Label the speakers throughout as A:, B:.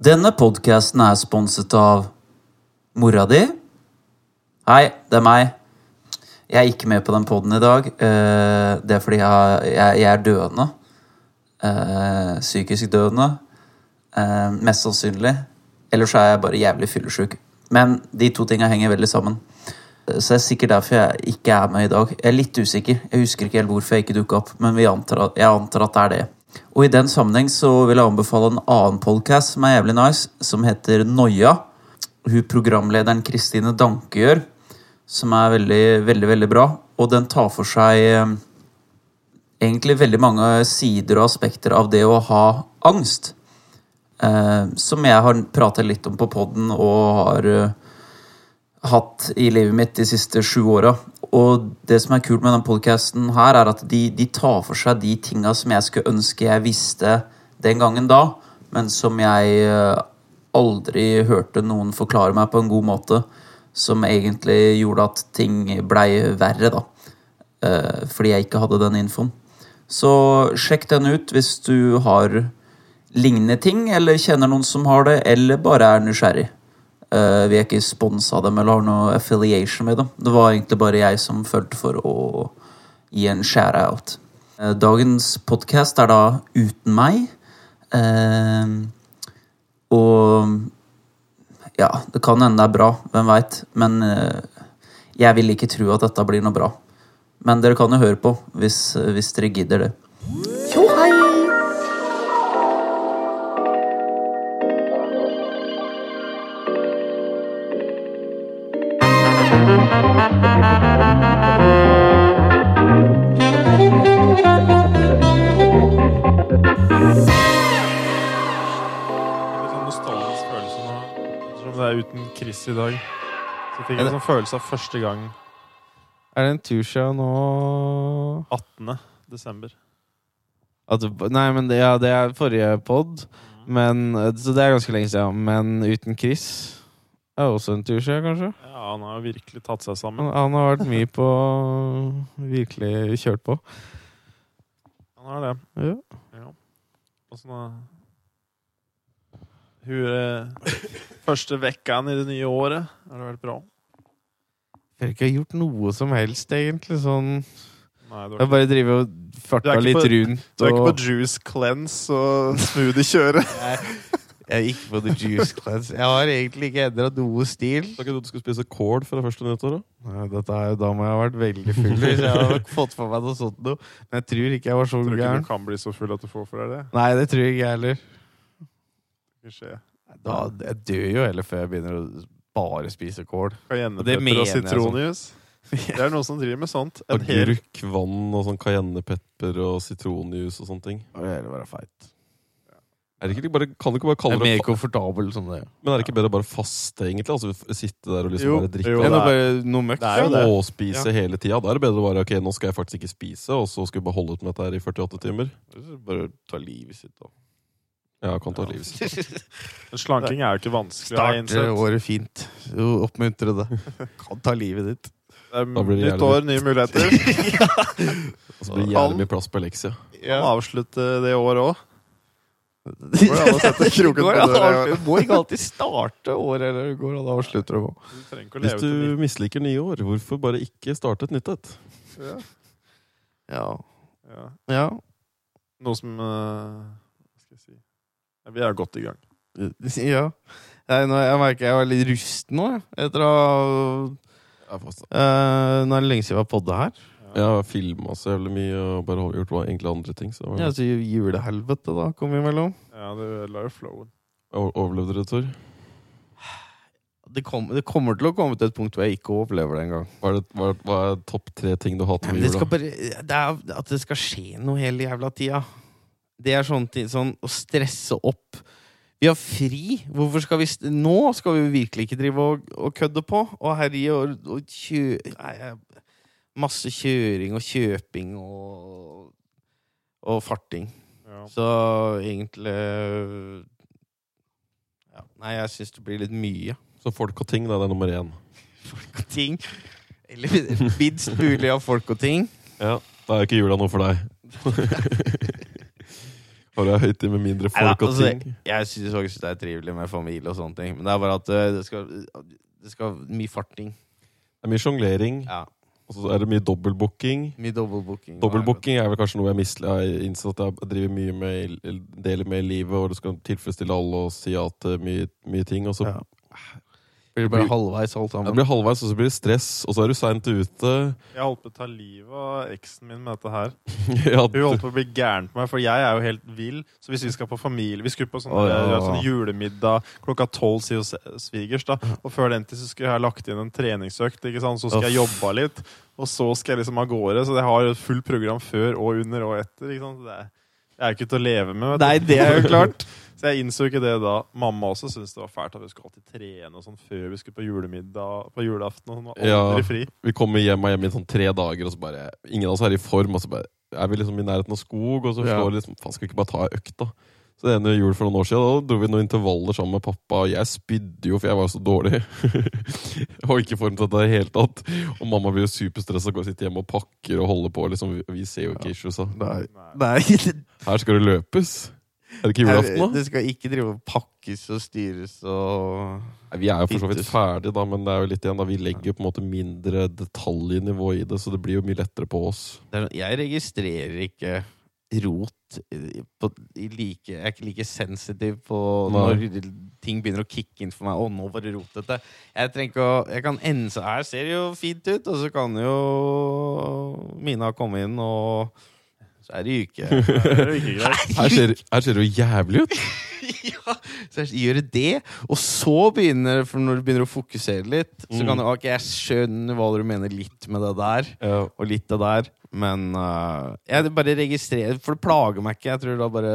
A: Denne podkasten er sponset av mora di. Hei, det er meg. Jeg er ikke med på den poden i dag. Eh, Det er fordi jeg, har- jeg, jeg er døende. Eh, Psykisk døende. Eh, Mest sannsynlig. Ellers er jeg bare jævlig fyllesyk. Men de to tinga henger veldig sammen. Eh, Så det er sikkert derfor jeg ikke er med i dag. Jeg er litt usikker. Jeg husker ikke helt hvorfor jeg ikke dukka opp, men vi antar at, jeg antar at det er det. Og i den sammenheng så vil jeg anbefale en annen podkast som er jævlig nice, som heter Noia. Hun programlederen Kristine Danke gjør, som er veldig, veldig, veldig bra. Og den tar for seg eh, egentlig veldig mange sider og aspekter av det å ha angst. Eh, som jeg har prata litt om på poden og har eh, hatt i livet mitt de siste sju åra. Og det som er kult med den podkasten her, er at de, de tar for seg de tinga som jeg skulle ønske jeg visste den gangen da, men som jeg eh, aldri hørte noen forklare meg på en god måte. Som egentlig gjorde at ting blei verre, da. Eh, fordi jeg ikke hadde den infoen. Så sjekk den ut hvis du har lignende ting, eller kjenner noen som har det, eller bare er nysgjerrig. Eh, vi er ikke sponsa av dem eller har noe affiliation med dem. Det var egentlig bare jeg som følte for å gi en share-out. Eh, dagens podkast er da uten meg. Eh, og ja, det kan hende det er bra, hvem veit. Men eh, jeg vil ikke tro at dette blir noe bra. Men dere kan jo høre på, hvis, eh, hvis dere gidder det.
B: Tjo hei!
C: Det er en sånn nostalgisk følelse nå. Som det er uten Chris i dag. Så fikk jeg en sånn følelse av første gang
D: Er det en tur siden nå
C: 18. desember.
D: at, Nei, men det, ja, det er forrige pod.
C: Mm.
D: Men, eh, så det er ganske lenge siden. Men uten Chris er også en tur siden, kanskje.
C: Ja, han har jo virkelig tatt seg sammen.
D: Han, han har vært mye på Virkelig kjørt på.
C: Han har det.
D: Ja.
C: Åssen da? Hun eh, Første vekkaen i det nye året. Har det vært bra?
D: Jeg har ikke gjort noe som helst, egentlig. Sånn.
C: Nei, du har
D: Jeg har
C: ikke,
D: bare drevet og
C: Du er
D: farta
C: ikke
D: litt
C: på-
D: rundt.
C: du er ikke på
D: Og,
C: juice cleanse og smoothie-kjøre?
D: jeg er ikke på The Juice Class. Jeg har egentlig ikke endra noe stil.
E: Sa ikke du at du skulle spise kål fra første nyttår? da?
D: Nei, dette er jo da må jeg ha vært veldig full. Hvis jeg har fått for meg noe sånt noe. Men jeg tror ikke jeg var så
C: Tror ikke
D: gæren.
C: du kan bli så full at du får for deg det.
D: Nei, det tror jeg ikke jeg heller.
C: Det skjer.
D: Da, jeg dør jo heller før jeg begynner å bare spise kål. Det
C: Cayennepepper
D: mener
C: og
D: jeg
C: sitronjus. Det er noen som driver med sånt. En hel
E: Agurk, vann og sånn cayennepepper og sitronjuice og sånne ting.
D: Og heller være feit.
E: Er det ikke bare, kan du ikke bare
D: Jeg
E: kalle
D: er
E: det,
D: mer
E: fa
D: komfortabel som det.
E: Men er det ikke bedre å bare faste, egentlig? Altså f- Sitte der og liksom
C: Jo,
E: bare drikke
C: jo,
D: Enn å
E: og
C: det er-
D: bare noe møkk.
C: det er jo det.
E: småspise hele tida? Da er det bedre å bare ok, nå skal jeg faktisk ikke spise, og så skal jeg bare holde ut med dette her i 48 timer.
D: Bare ta livet sitt, da.
E: Ja, kan ta livet sitt.
C: Men Slanking er jo ikke vanskelig. har jeg
D: Starte
C: innsett.
D: året fint. Jo, Oppmuntre det. Kan ta livet ditt.
C: Det er
E: Da blir det
C: nytt
E: jævlig
C: år, nye muligheter.
E: Og så blir Altså, det jævlig mye plass på Elixia.
C: Kan avslutte det året òg.
D: Det
C: går an å sette kroken på
D: går an å
C: døra,
D: avslutte- må ikke alltid starte året, eller det går an å avslutte det òg.
C: Du trenger ikke å
E: Hvis
C: leve til
E: du misliker nye år, hvorfor bare ikke starte et nytt et?
C: nytt. Ja.
D: Ja.
C: Ja.
D: ja.
C: Noe som eh, Hva skal jeg si ja, Vi er godt i gang.
D: Ja. Jeg, nå, jeg merker jeg var litt rusten nå, jeg. Etter å ha
E: Ja, fast-
D: Eh, nå er det lenge siden vi har podda her.
E: Jeg har filma så jævlig mye og bare gjort egentlig andre ting. Så
D: Ja, så ju- Julehelvete, da, kom vi imellom.
C: Ja, du la jo flowen.
E: O- overlevde du, Tor?
D: Det, kom, det kommer til å komme til et punkt hvor jeg ikke overlever det engang.
E: Hva er, det, hva, er, hva er topp tre ting du hater med
D: Det skal
E: jula?
D: bare det er, At det skal skje noe hele jævla tida. Det er sånn, ting- sånn å stresse opp. Vi har fri! Hvorfor skal vi st Nå skal vi jo virkelig ikke drive og, og kødde på og herje og, og kjø... Nei, jeg- masse kjøring og kjøping og, og farting.
C: Ja.
D: Så egentlig ja, Nei, jeg syns det blir litt mye
E: Så folk og ting, da, det er nummer én.
D: folk og ting. Eller minst mulig av folk og ting.
E: Da er ikke jula noe for deg. Har du ei høytid med mindre
D: Nei, da,
E: folk og
D: altså,
E: ting?
D: Jeg syns faktisk det er trivelig med familie og sånne ting, men det er bare at eh, det skal, det skal mye farting.
E: Det er mye sjonglering,
D: Ja.
E: og så er det mye dobbeltbooking.
D: Mye dobbeltbooking.
E: Dobbeltbooking er vel kanskje noe jeg misl- jeg har innsett at jeg driver mye med i- deler med i livet, og du skal tilfredsstille alle og si ja til mye, mye ting. Og så
D: Ja. Blir det bare halvveis alt
E: Ja, det
D: sammen.
E: blir halvveis, og så blir det stress, og så er du seint ute.
C: Jeg holdt på å ta livet av eksen min med dette her.
E: ja,
C: Hun
E: du,
C: holdt på å bli gæren på meg, for jeg er jo helt vill. Så hvis vi skal på familie Vi skulle på sånn,
E: Å, ja, ja, ja.
C: sånn julemiddag klokka tolv sier hos svigers, da. Og før den tid så skulle jeg ha lagt inn en treningsøkt, ikke sant? så skal jeg
E: Uff.
C: jobba litt. Og så skal jeg liksom av gårde. Så jeg har jo et fullt program før og under og etter. Ikke sant? Så Det er, jeg er jo ikke til å leve med. vet du.
D: Nei, det er jo klart!
C: Så jeg innså ikke det da. Mamma også syntes det var fælt at vi skulle alltid trene og sånn før vi skulle på julemiddag på julaften. Og hun var
E: Ja.
C: aldri fri.
E: vi kommer hjem og hjem i sånn tre dager, og så bare Ingen av oss er i form, og så bare er vi liksom i nærheten av skog, og så
D: Ja.
E: slår det liksom Faen, skal vi ikke bare ta ei økt, da? Så det ene jul for noen år siden, da dro vi noen intervaller sammen med pappa, og jeg spydde jo, for jeg var jo så dårlig. jeg var ikke i form til dette i det hele tatt. Og mamma blir jo superstressa og går og sitter hjemme og pakker og holder på, liksom. Vi, vi ser jo ikke issuesa.
D: Nei.
C: Nei.
D: Nei.
E: Her skal det løpes. Er det ikke julaften, da?
D: Det skal ikke drive og pakkes og styres og
E: Nei, Vi er jo for så vidt
D: Fittus.
E: ferdige, da, men det er jo litt igjen da vi legger jo på en måte mindre detaljnivå i det, så det blir jo mye lettere på oss.
D: det er, sånn, Jeg registrerer ikke rot i- på, i like, Jeg er ikke like sensitiv på
E: Nei.
D: når ting begynner å kicke inn for meg. Å, nå var det rotete. Jeg trenger ikke å Jeg kan ense Her ser det jo fint ut, og så kan jo Mina komme inn, og så er det uke.
C: Det er jo ikke greit.
E: Her ser, her ser det jo jævlig ut!
D: ja, så jeg gjør det, og så begynner For når du begynner å fokusere litt, så kan du Ok, jeg skjønner hva du mener litt med det der,
E: Ja.
D: og litt det der, men øh, Jeg bare registrerer, for det plager meg ikke. Jeg tror da bare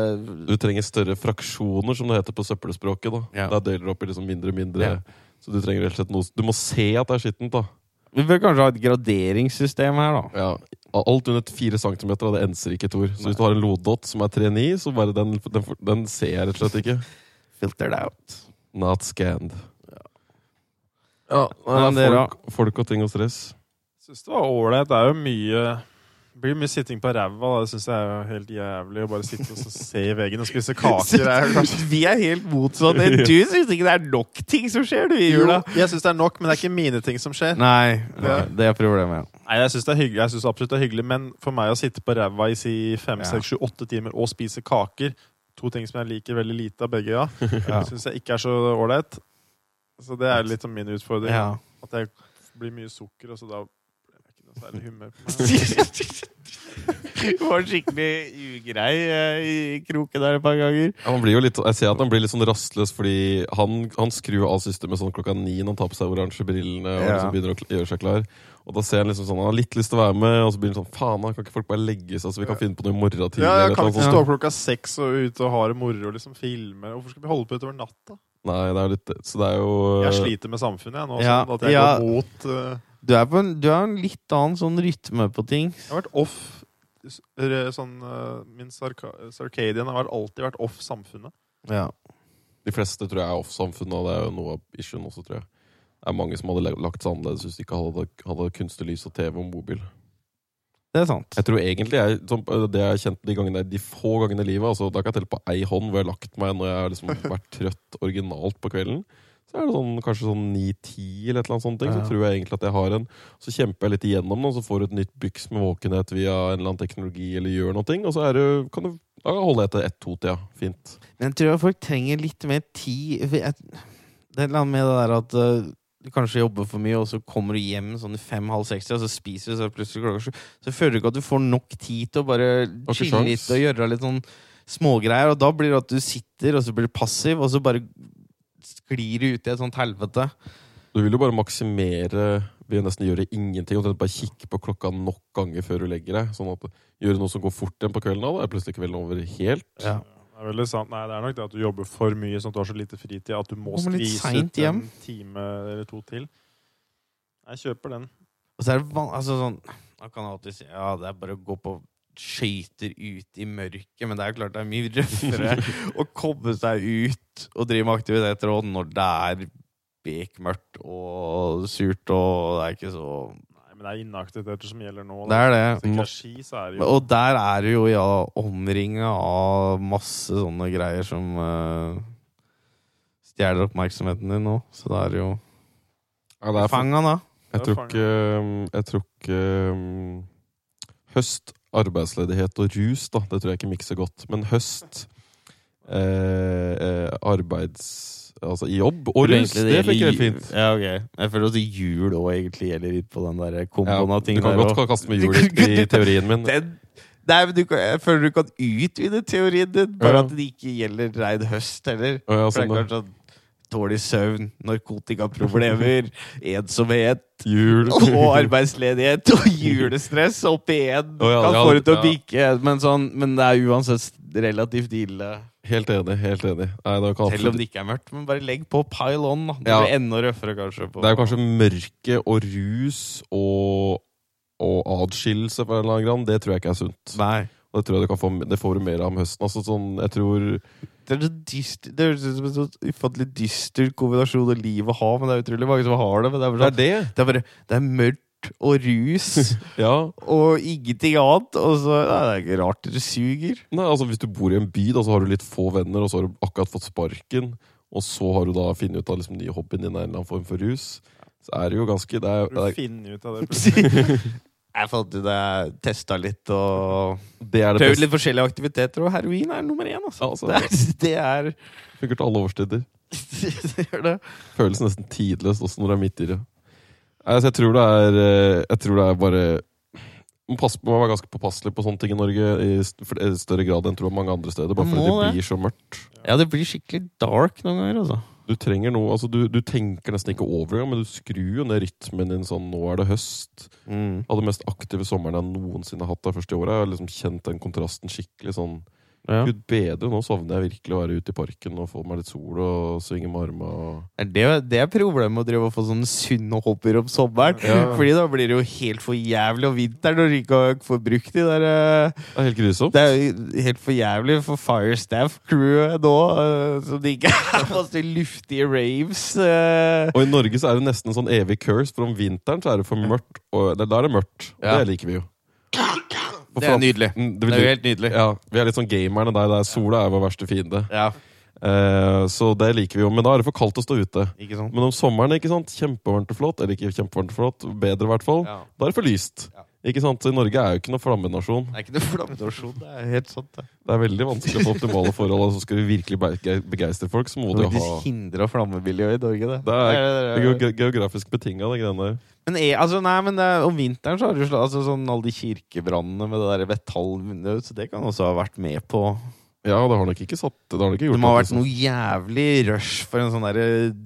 E: Du trenger større fraksjoner, som det heter på søppelspråket. da.
D: Ja.
E: Da deler du opp i liksom mindre og mindre.
D: Ja.
E: Så du trenger rett og slett noe Du må se at det er skittent, da.
D: Vi bør kanskje ha et graderingssystem her, da.
E: Ja. Alt under fire centimeter, da, det enser ikke, Tor. Så hvis du har en lodott som er 3,9, så bare den, den, den ser jeg rett og slett ikke.
D: Filter det out.
E: Not scanned.
D: Ja,
E: Men
D: men dere
E: folk, folk og ting og stress.
C: Syns det var ålreit. Det er jo mye det blir mye sitting på ræva. da. Det syns jeg er jo helt jævlig. Å bare sitte og så se i veggen og spise kaker. Er jo kanskje...
D: Vi er helt motsatte. Du syns ikke det er nok ting som skjer, du, i
C: Jo,
D: jula?
C: jeg syns det er nok, men det er ikke mine ting som skjer.
D: Nei,
C: Ja.
D: ok, det er problemet. ja.
C: Nei, Jeg syns absolutt det er hyggelig, men for meg å sitte på ræva i si fem,
D: Ja.
C: seks, sju, åtte timer og spise kaker To ting som jeg liker veldig lite av begge, ja.
D: Ja.
C: Syns jeg ikke er så ålreit. Så det er litt sånn min utfordring.
D: Ja.
C: At jeg blir mye sukker, og så da blir jeg ikke noe særlig humør på meg.
D: Du var skikkelig ugrei eh, i kroken der et par ganger.
E: Ja, han blir jo litt, jeg ser at han blir litt sånn rastløs, fordi han, han skrur av systemet sånn klokka ni når han tar på seg oransje brillene og
D: Ja.
E: liksom begynner å kl- gjøre seg klar. Og da ser Han liksom sånn, han har litt lyst til å være med, og så begynner han sånn Faen, da, kan ikke folk bare legge seg, så vi kan finne på noe i morgen tidlig?
C: Ja,
E: eller
C: jeg kan
E: noe
C: ikke
D: sånn.
E: sånt.
C: stå opp klokka seks og ut og ha det moro og liksom filme. Hvorfor skal vi holde på utover natta?
E: Nei, det er jo litt Så det er jo
C: Jeg sliter med samfunnet jeg nå.
D: Øh, Ja,
C: Sånn at jeg
D: ja.
C: går mot eh,
D: Du er på en, du har en litt annen sånn rytme på ting.
C: Jeg har vært off s- r- sånn, eh, Min sarka, sarcadian har alltid vært off samfunnet.
D: Ja.
E: De fleste tror jeg er off-samfunnet, og det er jo noe av issuen også, tror jeg. Det er mange som hadde le- lagt seg annerledes hvis de ikke hadde, hadde kunstig lys og TV og mobil.
D: Det er sant.
E: Jeg tror egentlig jeg, som, eh, det jeg kjente de, gangene, de få gangene i livet altså, Da kan jeg telle på ei hånd hvor jeg har lagt meg når jeg har liksom vært trøtt originalt på kvelden. Så er det sånn, kanskje sånn 9-10 eller et eller annet sånt. ting,
D: Ja.
E: Så tror jeg egentlig at jeg har en. Så kjemper jeg litt igjennom, og så får du et nytt byks med våkenhet via en eller annen teknologi. eller gjør noe, og så er det, kan du, da holder jeg til ett-to-tida. Fint.
D: Men jeg tror folk trenger litt mer tid. for jeg- Det er et eller annet med det der at eh, du kanskje jobber for mye, og så kommer du hjem sånn i fem-halv seks, og så spiser du, så er det plutselig klokka sju. Så føler du ikke at du får nok tid til å bare
E: ikke
D: chille
E: sjans.
D: litt og gjøre litt sånn smågreier. Og da blir det at du sitter, og så blir du passiv, og så bare sklir du ut i et sånt helvete.
E: Du vil jo bare maksimere ved å nesten gjøre ingenting. Omtrent bare kikke på klokka nok ganger før du legger deg. sånn at Gjøre noe som går fort igjen på kvelden, da, da er plutselig kvelden over helt.
D: Ja.
C: Det er veldig sant. Nei, det er nok det at du jobber for mye, sånn at du har så lite fritid at du må
D: Kommer litt
C: skvise
D: sent
C: ut en
D: hjem.
C: time eller to til. Jeg kjøper den.
D: Og så er det van altså sånn Man kan alltid si ja, det er bare å gå på skøyter ut i mørket, men det er jo klart det er mye røffere å komme seg ut og drive med aktiviteter og når det er bekmørkt og surt og det er ikke så
C: Nei, men det er inneaktiviteter som gjelder nå.
D: Det
C: Da.
D: er
C: Hvis det
D: det.
C: ikke er ski, så er det jo
D: Og der er du jo ja, omringa av masse sånne greier som eh, stjeler oppmerksomheten din nå. Så da er det jo
E: Ja, det er for,
D: Fang han, da!
E: jeg tror ikke um, Jeg tror ikke um, Høst, arbeidsledighet og rus, da. Det tror jeg ikke mikser godt. Men høst, eh, eh, arbeids... Altså i jobb og rus, det funker helt fint.
D: Ja, ok. Jeg føler også jul òg egentlig gjelder litt på den der
E: Ja,
D: komboen av
E: du
D: ting.
E: kan
D: der også.
E: godt kaste med
D: Du
E: hjul
D: kan
E: i, i
D: ikke-
E: teorien min.
D: den, nei, men du kan, jeg føler du kan utvide teorien din, bare
E: Ja.
D: at det ikke gjelder rein høst heller.
E: Å,
D: For
E: ja,
D: det
E: sånn,
D: er
E: ja.
D: klart sånn Dårlig søvn, narkotikaproblemer, ensomhet
E: Jul.
D: og arbeidsledighet og julestress oppi én
E: Å, ja,
D: kan
E: ja,
D: få det til å
E: ja.
D: bikke, men, sånn, men det er uansett relativt ille.
E: Helt enig. helt enig Nei, det, er jo
D: Selv
E: ikke
D: om
E: absolutt-
D: det ikke er mørkt, men bare legg på pile on. da. Det
E: Ja.
D: blir enda røffere, kanskje. På.
E: det er jo kanskje mørke og rus og, og adskillelse på en eller annen grad. Det tror jeg ikke er sunt.
D: Nei.
E: Og det tror jeg du kan få, det får du mer av om høsten. Altså, sånn, jeg tror
D: Det er så dyster Det høres ut som en så ufattelig dyster kombinasjon av liv og hav, men det er utrolig mange som har det. Men det, er bare
E: Det er
D: sånn,
E: det.
D: det er bare Det er mørkt og rus
E: Ja.
D: og ingenting annet, og så Nei, det er ikke rart dere suger.
E: Nei, altså, hvis du bor i en by, da, så har du litt få venner, og så har du akkurat fått sparken, og så har du da funnet ut av liksom, nye hobbyen din er en eller annen form for rus, så er det jo ganske det er,
C: Du
E: det er,
C: finner ut av det plutselig.
D: jeg fant ut det. Jeg testa litt og
E: det, er det
D: prøvd
E: beste.
D: litt forskjellige aktiviteter, og heroin er nummer én, altså.
E: Altså,
D: Det er, det er
E: Funker til alle årstider.
D: det gjør det.
E: Føles nesten tidløst også når det er midt i det. Nei, så jeg tror det er eh, Jeg tror det er bare man passe, må være ganske påpasselig på sånne ting i Norge i st- for- i større grad enn tror jeg mange andre steder. Bare
D: Man
E: fordi
D: må
E: det
D: det.
E: blir så mørkt.
D: Ja, det blir skikkelig dark noen ganger, altså.
E: Du trenger noe, altså du, du tenker nesten ikke over det, engang, men du skrur jo ned rytmen din sånn Nå er det høst.
D: Mm.
E: Av den mest aktive sommeren jeg noensinne har hatt det første året. Jeg har liksom kjent den kontrasten skikkelig sånn
D: Ja.
E: Gud bedre, nå savner jeg virkelig å være ute i parken og få meg litt sol og svinge med armene og
D: Er Det, det er problemet med å drive og få sånne sunne hobbyer om sommeren.
E: Ja.
D: Fordi da blir det jo helt for jævlig om vinteren når du ikke har- får brukt de der eh,
E: Det er helt grusomt.
D: Det er jo helt for jævlig for Firestaff-crewet nå, eh, som de ikke er masse luftige raves. eh.
E: Og i Norge så er det nesten en sånn evig curse, for om vinteren så er det for mørkt. Og det, da er det mørkt, og
D: Ja.
E: det liker vi jo. For
D: Det er
E: faen-
D: nydelig.
E: Mm,
D: Det
E: vil-
D: er jo helt nydelig.
E: Ja, Vi er litt sånn gamerne der. der sola er vår verste fiende.
D: Ja,
E: Eh, så det liker vi jo. Men da er det for kaldt å stå ute.
D: ikke sant?
E: Men om sommeren, ikke sant, kjempevarmt og flott, eller ikke kjempevarmt og flott, bedre i hvert fall,
D: Ja.
E: da er det for lyst.
D: Ja.
E: Ikke sant? Så Norge er jo ikke noe flammenasjon.
D: Det er ikke noe flammenasjon. Det er helt sant, det.
E: Det er veldig vanskelig å få optimale forhold. Altså, skal vi virkelig be- begeistre folk, så
D: Det
E: må du
D: er
E: ha
D: faktisk hindra flammebillighet i Norge, det.
E: Det er,
D: Det
E: det er ge- geografisk betinga, de greiene der.
D: Men, er, altså, nei, men det, er- om vinteren så har du sla- altså, sånn, alle de kirkebrannene med det der metallvinduet, så det kan også ha vært med på
E: Ja, det har nok ikke satt Det har nok ikke
D: Det
E: gjort sånn-
D: må ha
E: at
D: vært noe jævlig rush for en sånn derre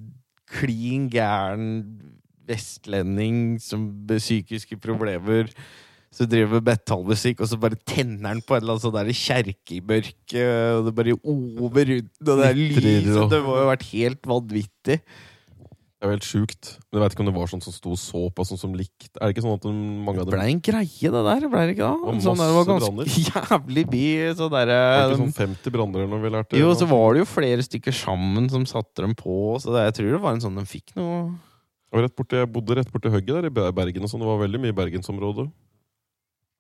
D: klin gæren vestlending som med psykiske problemer. Så driver med metallmusikk, og så bare tenner han på en eller annen sånn der kjerke i mørket. Og det bare over rundt, og det er
E: Glitrer,
D: lys, og
E: og-
D: det må jo ha vært helt vanvittig.
E: Det er jo helt sjukt. Men jeg vet ikke om det var sånn som sto såpass, sånn som likt Er det ikke sånn at de- mange av
D: Det
E: dem
D: ble en greie, det der. Ble det ikke da?
E: Og
D: Sånn der, det var
E: masse
D: ganske jævlig mye sånn derre
E: var det ikke sånn 50 branner eller noe vi lærte?
D: Jo, så var det jo flere stykker sammen som satte dem på, så det, jeg tror det var en sånn de fikk noe
E: Og rett borti, jeg bodde rett borti hugget der i Be- Bergen, og sånn. Det var veldig mye i bergensområdet.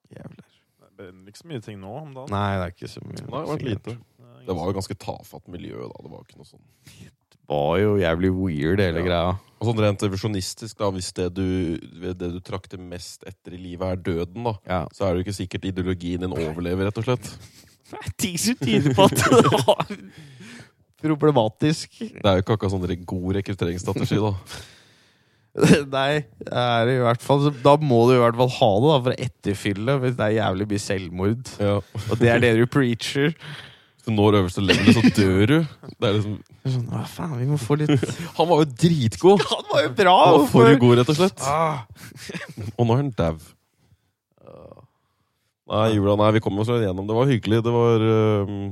D: Jævlig.
C: Det brenner ikke så mye ting nå om dagen.
D: Nei, det er ikke så mye.
E: Nei, det var et lite.
C: er
E: Det var jo ganske tafatt miljø, da. Det var ikke noe sånn
D: var jo jævlig weird, hele
E: Ja.
D: greia.
E: Og sånn rent visjonistisk, da, hvis det du, det du trakter mest etter i livet, er døden, da,
D: Ja.
E: så er det jo ikke sikkert ideologien din overlever, rett og slett.
D: Det er ting som tyder på at det var problematisk.
E: Det er jo ikke akkurat sånn re- god rekrutteringsstrategi, da.
D: Nei, det er det i hvert fall så Da må du i hvert fall ha det da for å etterfylle, hvis det er jævlig mye selvmord.
E: Ja.
D: Og det er det du preacher.
E: Hvis du når øverste level, så dør du. Det er liksom
D: Sånn, hva faen, vi må få litt
E: Han var jo dritgod!
D: Han var jo bra!
E: Han var for
D: hvorfor-
E: god, rett og slett.
D: Ah.
E: Og nå er han dau. Nei, jula, nei, vi kom oss gjennom. Det var hyggelig. Det var øhm,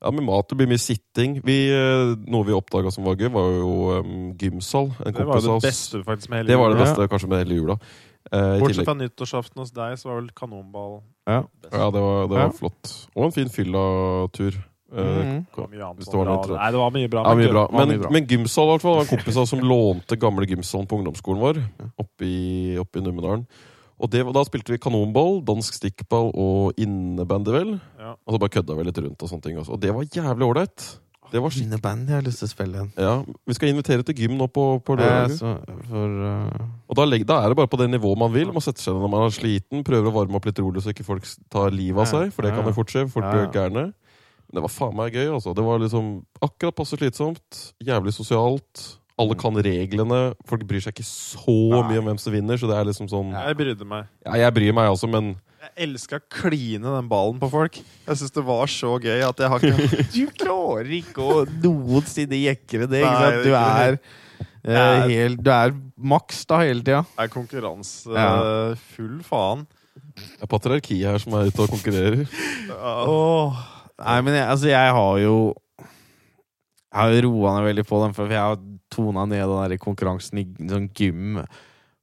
E: Ja, med mat det blir mye sitting. Vi, øh, noe vi oppdaga som var gøy, var jo øhm, gymsal. En
C: Det var
E: kompis
C: jo
E: av
C: det
E: oss.
C: beste faktisk med hele
E: Det var det
C: jula.
E: beste kanskje med hele jula. Eh, i
C: Bortsett
E: tillegg-
C: fra nyttårsaften hos deg, så var vel kanonball
D: Ja.
C: best.
E: ja, det var, det var
D: Ja.
E: flott. Og en fin fylla-tur. Eh,
D: Mhm.
C: Det var mye annet
E: Hvis det
C: som
E: var
C: var
E: noe
C: bra.
E: annet.
C: Nei, det var mye bra.
E: Ja, mye
C: det
E: bra.
C: var
E: Men,
C: mye bra.
E: men gymsal, i hvert fall. Det var en kompis av oss som lånte gamle gymsalen på ungdomsskolen vår. Oppe i, oppe i Numedalen. Og det, var- da spilte vi kanonball, dansk stikkball og innebandy, vel.
C: Ja.
E: Og så bare kødda vi litt rundt og sånne ting. Også. Og det var jævlig ålreit. Det var skik-
D: Mine band jeg har lyst til å spille igjen.
E: ja. Vi skal invitere til gym nå på, på
D: Eh,
E: lørdag.
D: så, for eh,
E: Og da, legg- da er det bare på det nivået man vil. Man setter seg ned når man er sliten, prøver å varme opp litt rolig så ikke folk s- tar livet av
D: Ja,
E: seg. For det
D: ja,
E: kan jo fort skje. Folk
D: ja,
E: blir
D: ja.
E: gærne. Men det var faen meg gøy. altså. Det var liksom akkurat passe slitsomt. Jævlig sosialt. Alle kan reglene. Folk bryr seg ikke så
C: Nei.
E: mye om hvem som vinner. Så det er liksom sånn
C: Jeg brydde meg.
E: Ja, jeg bryr meg altså, men
C: Jeg elska å kline den ballen på folk. Jeg syns det var så gøy at jeg har ikke
D: Du klarer ikke å noensinne jekre det. Ikke
C: Nei,
D: sant? Du er, eh, helt, du er maks da hele tida.
C: Jeg er konkurranse
D: Ja.
C: eh, full faen.
E: det er patriarkiet her som er ute og konkurrerer.
C: Ja.
D: Åh. Nei, men jeg, altså, jeg har jo Jeg har jo roa ned veldig på den, for jeg har tona ned den der konkurransen i sånn gym.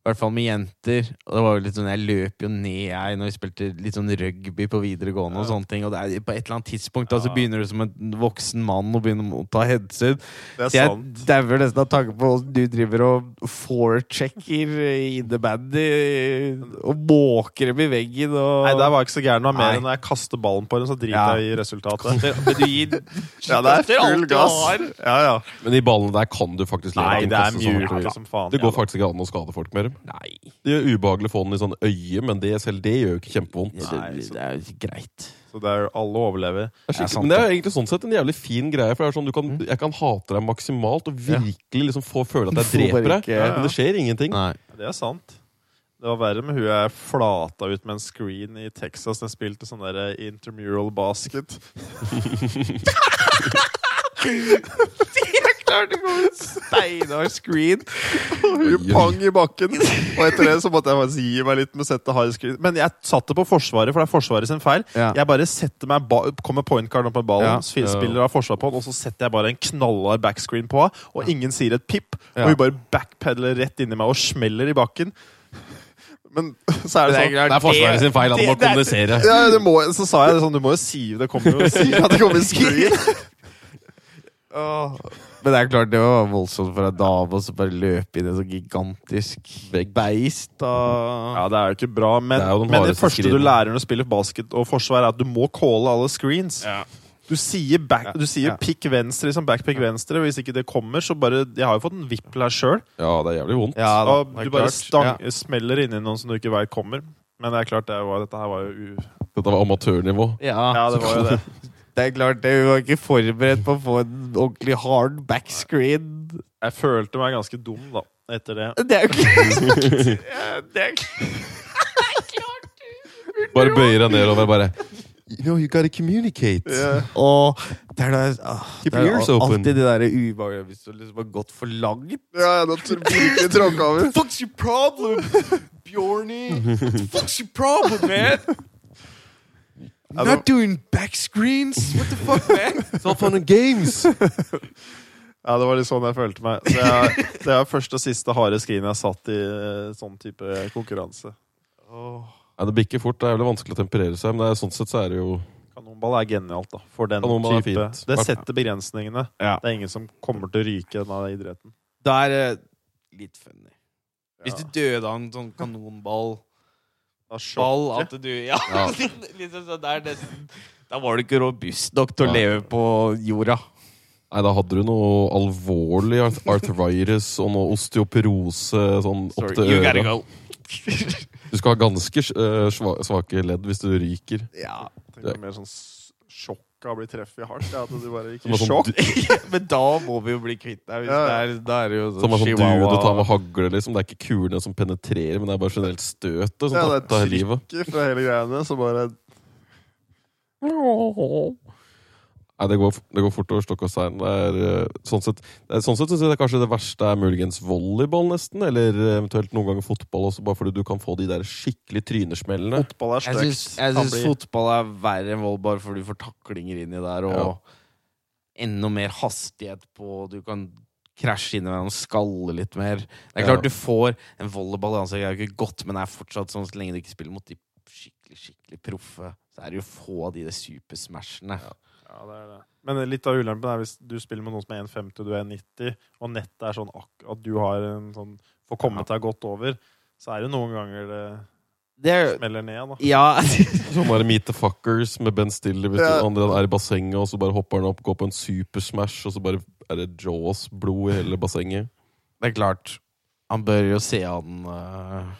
D: I hvert fall med jenter. Og det var jo litt sånn, Jeg løp jo ned jeg når vi spilte litt sånn rugby på videregående. Og
C: Ja.
D: sånne ting Og det er, på et eller annet tidspunkt da, så
C: Ja.
D: begynner du som en voksen mann og begynner å motta headset.
C: Det er
D: Så jeg
C: sant.
D: dauer nesten av tanke på hvordan du driver og forechecker i the bandy og måker dem i veggen og
C: Nei, der var jeg ikke så gæren. Det var mer
D: Nei.
C: enn når jeg kaster ballen på den, så driter
D: Ja.
C: jeg i resultatet.
D: Men du gir
C: Ja, det er full gass. Ja, ja.
E: Men de ballene der kan du faktisk leve
C: Nei,
E: av.
C: det er liksom.
E: Kaste sånn
C: mjuke
E: ordentlig.
C: som faen.
E: Det går
C: Ja,
E: faktisk ikke an å skade folk med dem.
D: Nei.
E: Det gjør ubehagelig å få den i sånn øye, men det selv det gjør jo ikke kjempevondt.
D: Det, det, det er jo greit.
C: Så det er jo alle overlever.
E: Det er
D: Det er sant,
E: skikkelig- men det er egentlig sånn sett en jævlig fin greie. For det er sånn, du kan, Jeg kan hate deg maksimalt og virkelig liksom få føle at jeg
D: Du får
E: dreper
D: bare
E: deg.
D: ikke- Ja, ja.
E: Men det skjer ingenting.
D: Nei.
C: Det er sant. Det var verre med hun jeg flata ut med en screen i Texas. Jeg spilte sånn der intermural basket.
D: Jeg klarte ikke å komme Steinar Screen.
E: Oi,
C: Hun
E: oi.
C: pang i bakken! Og etter det så måtte jeg faktisk gi meg litt med å sette hard screen. Men jeg satte på Forsvaret, for det er Forsvaret sin feil.
D: Ja.
C: Jeg bare setter meg ba kommer pointcard opp med ballen,
D: Ja.
C: ja. spiller av forsvar på den, og så setter jeg bare en knallhard backscreen på henne, og ingen sier et pip.
D: Ja.
C: Og hun bare backpedaler rett inni meg og smeller i bakken. Men så er det sånn
E: Det er Forsvaret sin feil. Han må
D: det-
E: kommunisere.
C: ja, du må, så sa jeg det sånn, du må jo si det kommer jo si at det kommer screen.
D: Åh. Men det er klart, det var voldsomt for en dame å så bare løpe inn i en sånn gigantisk beist av
C: Ja, det er jo ikke bra, men
E: Det er jo
C: det,
E: den
C: men det
E: hardeste
C: første du
E: screenen.
C: lærer når du spiller basket og forsvar, er at du må calle alle screens. Du sier, back, du sier
D: Ja.
C: pick venstre, liksom backpick venstre. og Hvis ikke det kommer, så bare Jeg har jo fått en vippel her sjøl.
E: Ja, det er jævlig vondt.
D: Ja, da,
C: Og
D: det er
C: du bare
D: klart.
C: stang,
D: Ja.
C: smeller inni noen som du ikke veit kommer. Men det er klart, det var, dette her var jo u...
E: Dette var amatørnivå.
D: Ja.
C: Ja, det var jo det.
D: Det er klart, det. Hun var ikke forberedt på å få en ordentlig hard backscreen.
C: Jeg følte meg ganske dum, da, etter det.
D: Det er jo ikke Det er ikke
E: Bare bøyer deg nedover og bare You know, you gotta communicate.
D: Og det er da ah,
E: Keep
D: Det er
E: your ears
D: al-
E: open.
D: alltid det derre ubehagelige hvis du liksom har gått for langt.
C: Ja, da virkelig tråkka over.
D: Fuck's your problem, Bjorny? Fuck's your problem, man?
C: Ja, det-
D: doing backscreens! What the fuck, man?
E: It's all fun and games!
C: Ja, det var litt sånn jeg følte meg. Så jeg, det er første og siste harde skrin jeg satt i eh, sånn type konkurranse.
E: Ja, det bikker fort. Det er jævlig vanskelig å temperere seg, men det er, sånn sett så er det jo
C: Kanonball er genialt, da. For den
E: Kanonball er
C: type.
E: fint.
C: Det setter begrensningene.
D: Ja.
C: Det er ingen som kommer til å ryke i denne idretten.
D: Det er eh, litt funny. Hvis du
C: Ja.
D: døde av en sånn kanonball
C: Da sjokk.
D: Ball at du Ja,
E: Ja.
D: liksom sånn, det er nesten Da var du ikke robust nok til å
E: Nei.
D: leve på jorda.
E: Nei, da hadde du noe alvorlig arth- arthritis og noe osteoporose sånn opp
D: Sorry,
E: til
D: you gotta
E: øret.
D: go.
E: Du skal ha ganske eh, sva- svake ledd hvis du ryker.
D: ja.
C: Tenk deg mer sånn s- sjokk av å bli treffet hardt. Ja, at du bare gikk i
E: Det var
C: sjokk.
E: sånn,
D: Men da må vi jo bli kvitt deg. Hvis
C: Ja,
D: det
C: ja.
D: er, da er det jo sånn
E: Som er sånn du du tar
D: chihuahua.
E: med hagle, liksom. Det er ikke kulene som penetrerer, men det er bare generelt støtet som
C: Ja, det er
E: tar livet.
C: trykket fra hele greiene, så bare
E: Nei, det går, det går fort over stokk og stein. Det er, eh, sånn sett, det er, sånn sett synes jeg det er kanskje det verste er muligens volleyball, nesten. Eller eh, eventuelt noen ganger fotball også, bare fordi du kan få de der skikkelig trynesmellene.
C: Fotball er
D: Jeg syns,
C: stygt.
D: jeg
C: Kan
D: syns
C: bli-
D: fotball er verre enn volleyball, for du får taklinger inni der, og
E: Ja.
D: enda mer hastighet på Du kan krasje inn i hverandre og skalle litt mer. Det er
E: Ja.
D: klart du får en volleyball, altså, jeg er jo ikke godt, men det er fortsatt sånn så lenge du ikke spiller mot de skikkelig, skikkelig proffe, så er det jo få av de der supersmashene.
C: Ja, det er det. Men litt av ulempen er hvis du spiller med noen som er 1,50 og du er 90, og nettet er sånn ak- at du har en sånn får kommet deg godt over, så er det noen ganger det
D: Det
E: Eh,
D: er
C: smeller ned, da.
D: Ja.
E: Sånn der Meet the Fuckers med Ben Stiller. Hvis
C: Ja.
E: du- han er i bassenget, og så bare hopper han opp, går på en super smash, og så bare er det Jaws-blod i hele bassenget.
D: Det er klart. Han bør jo se an eh,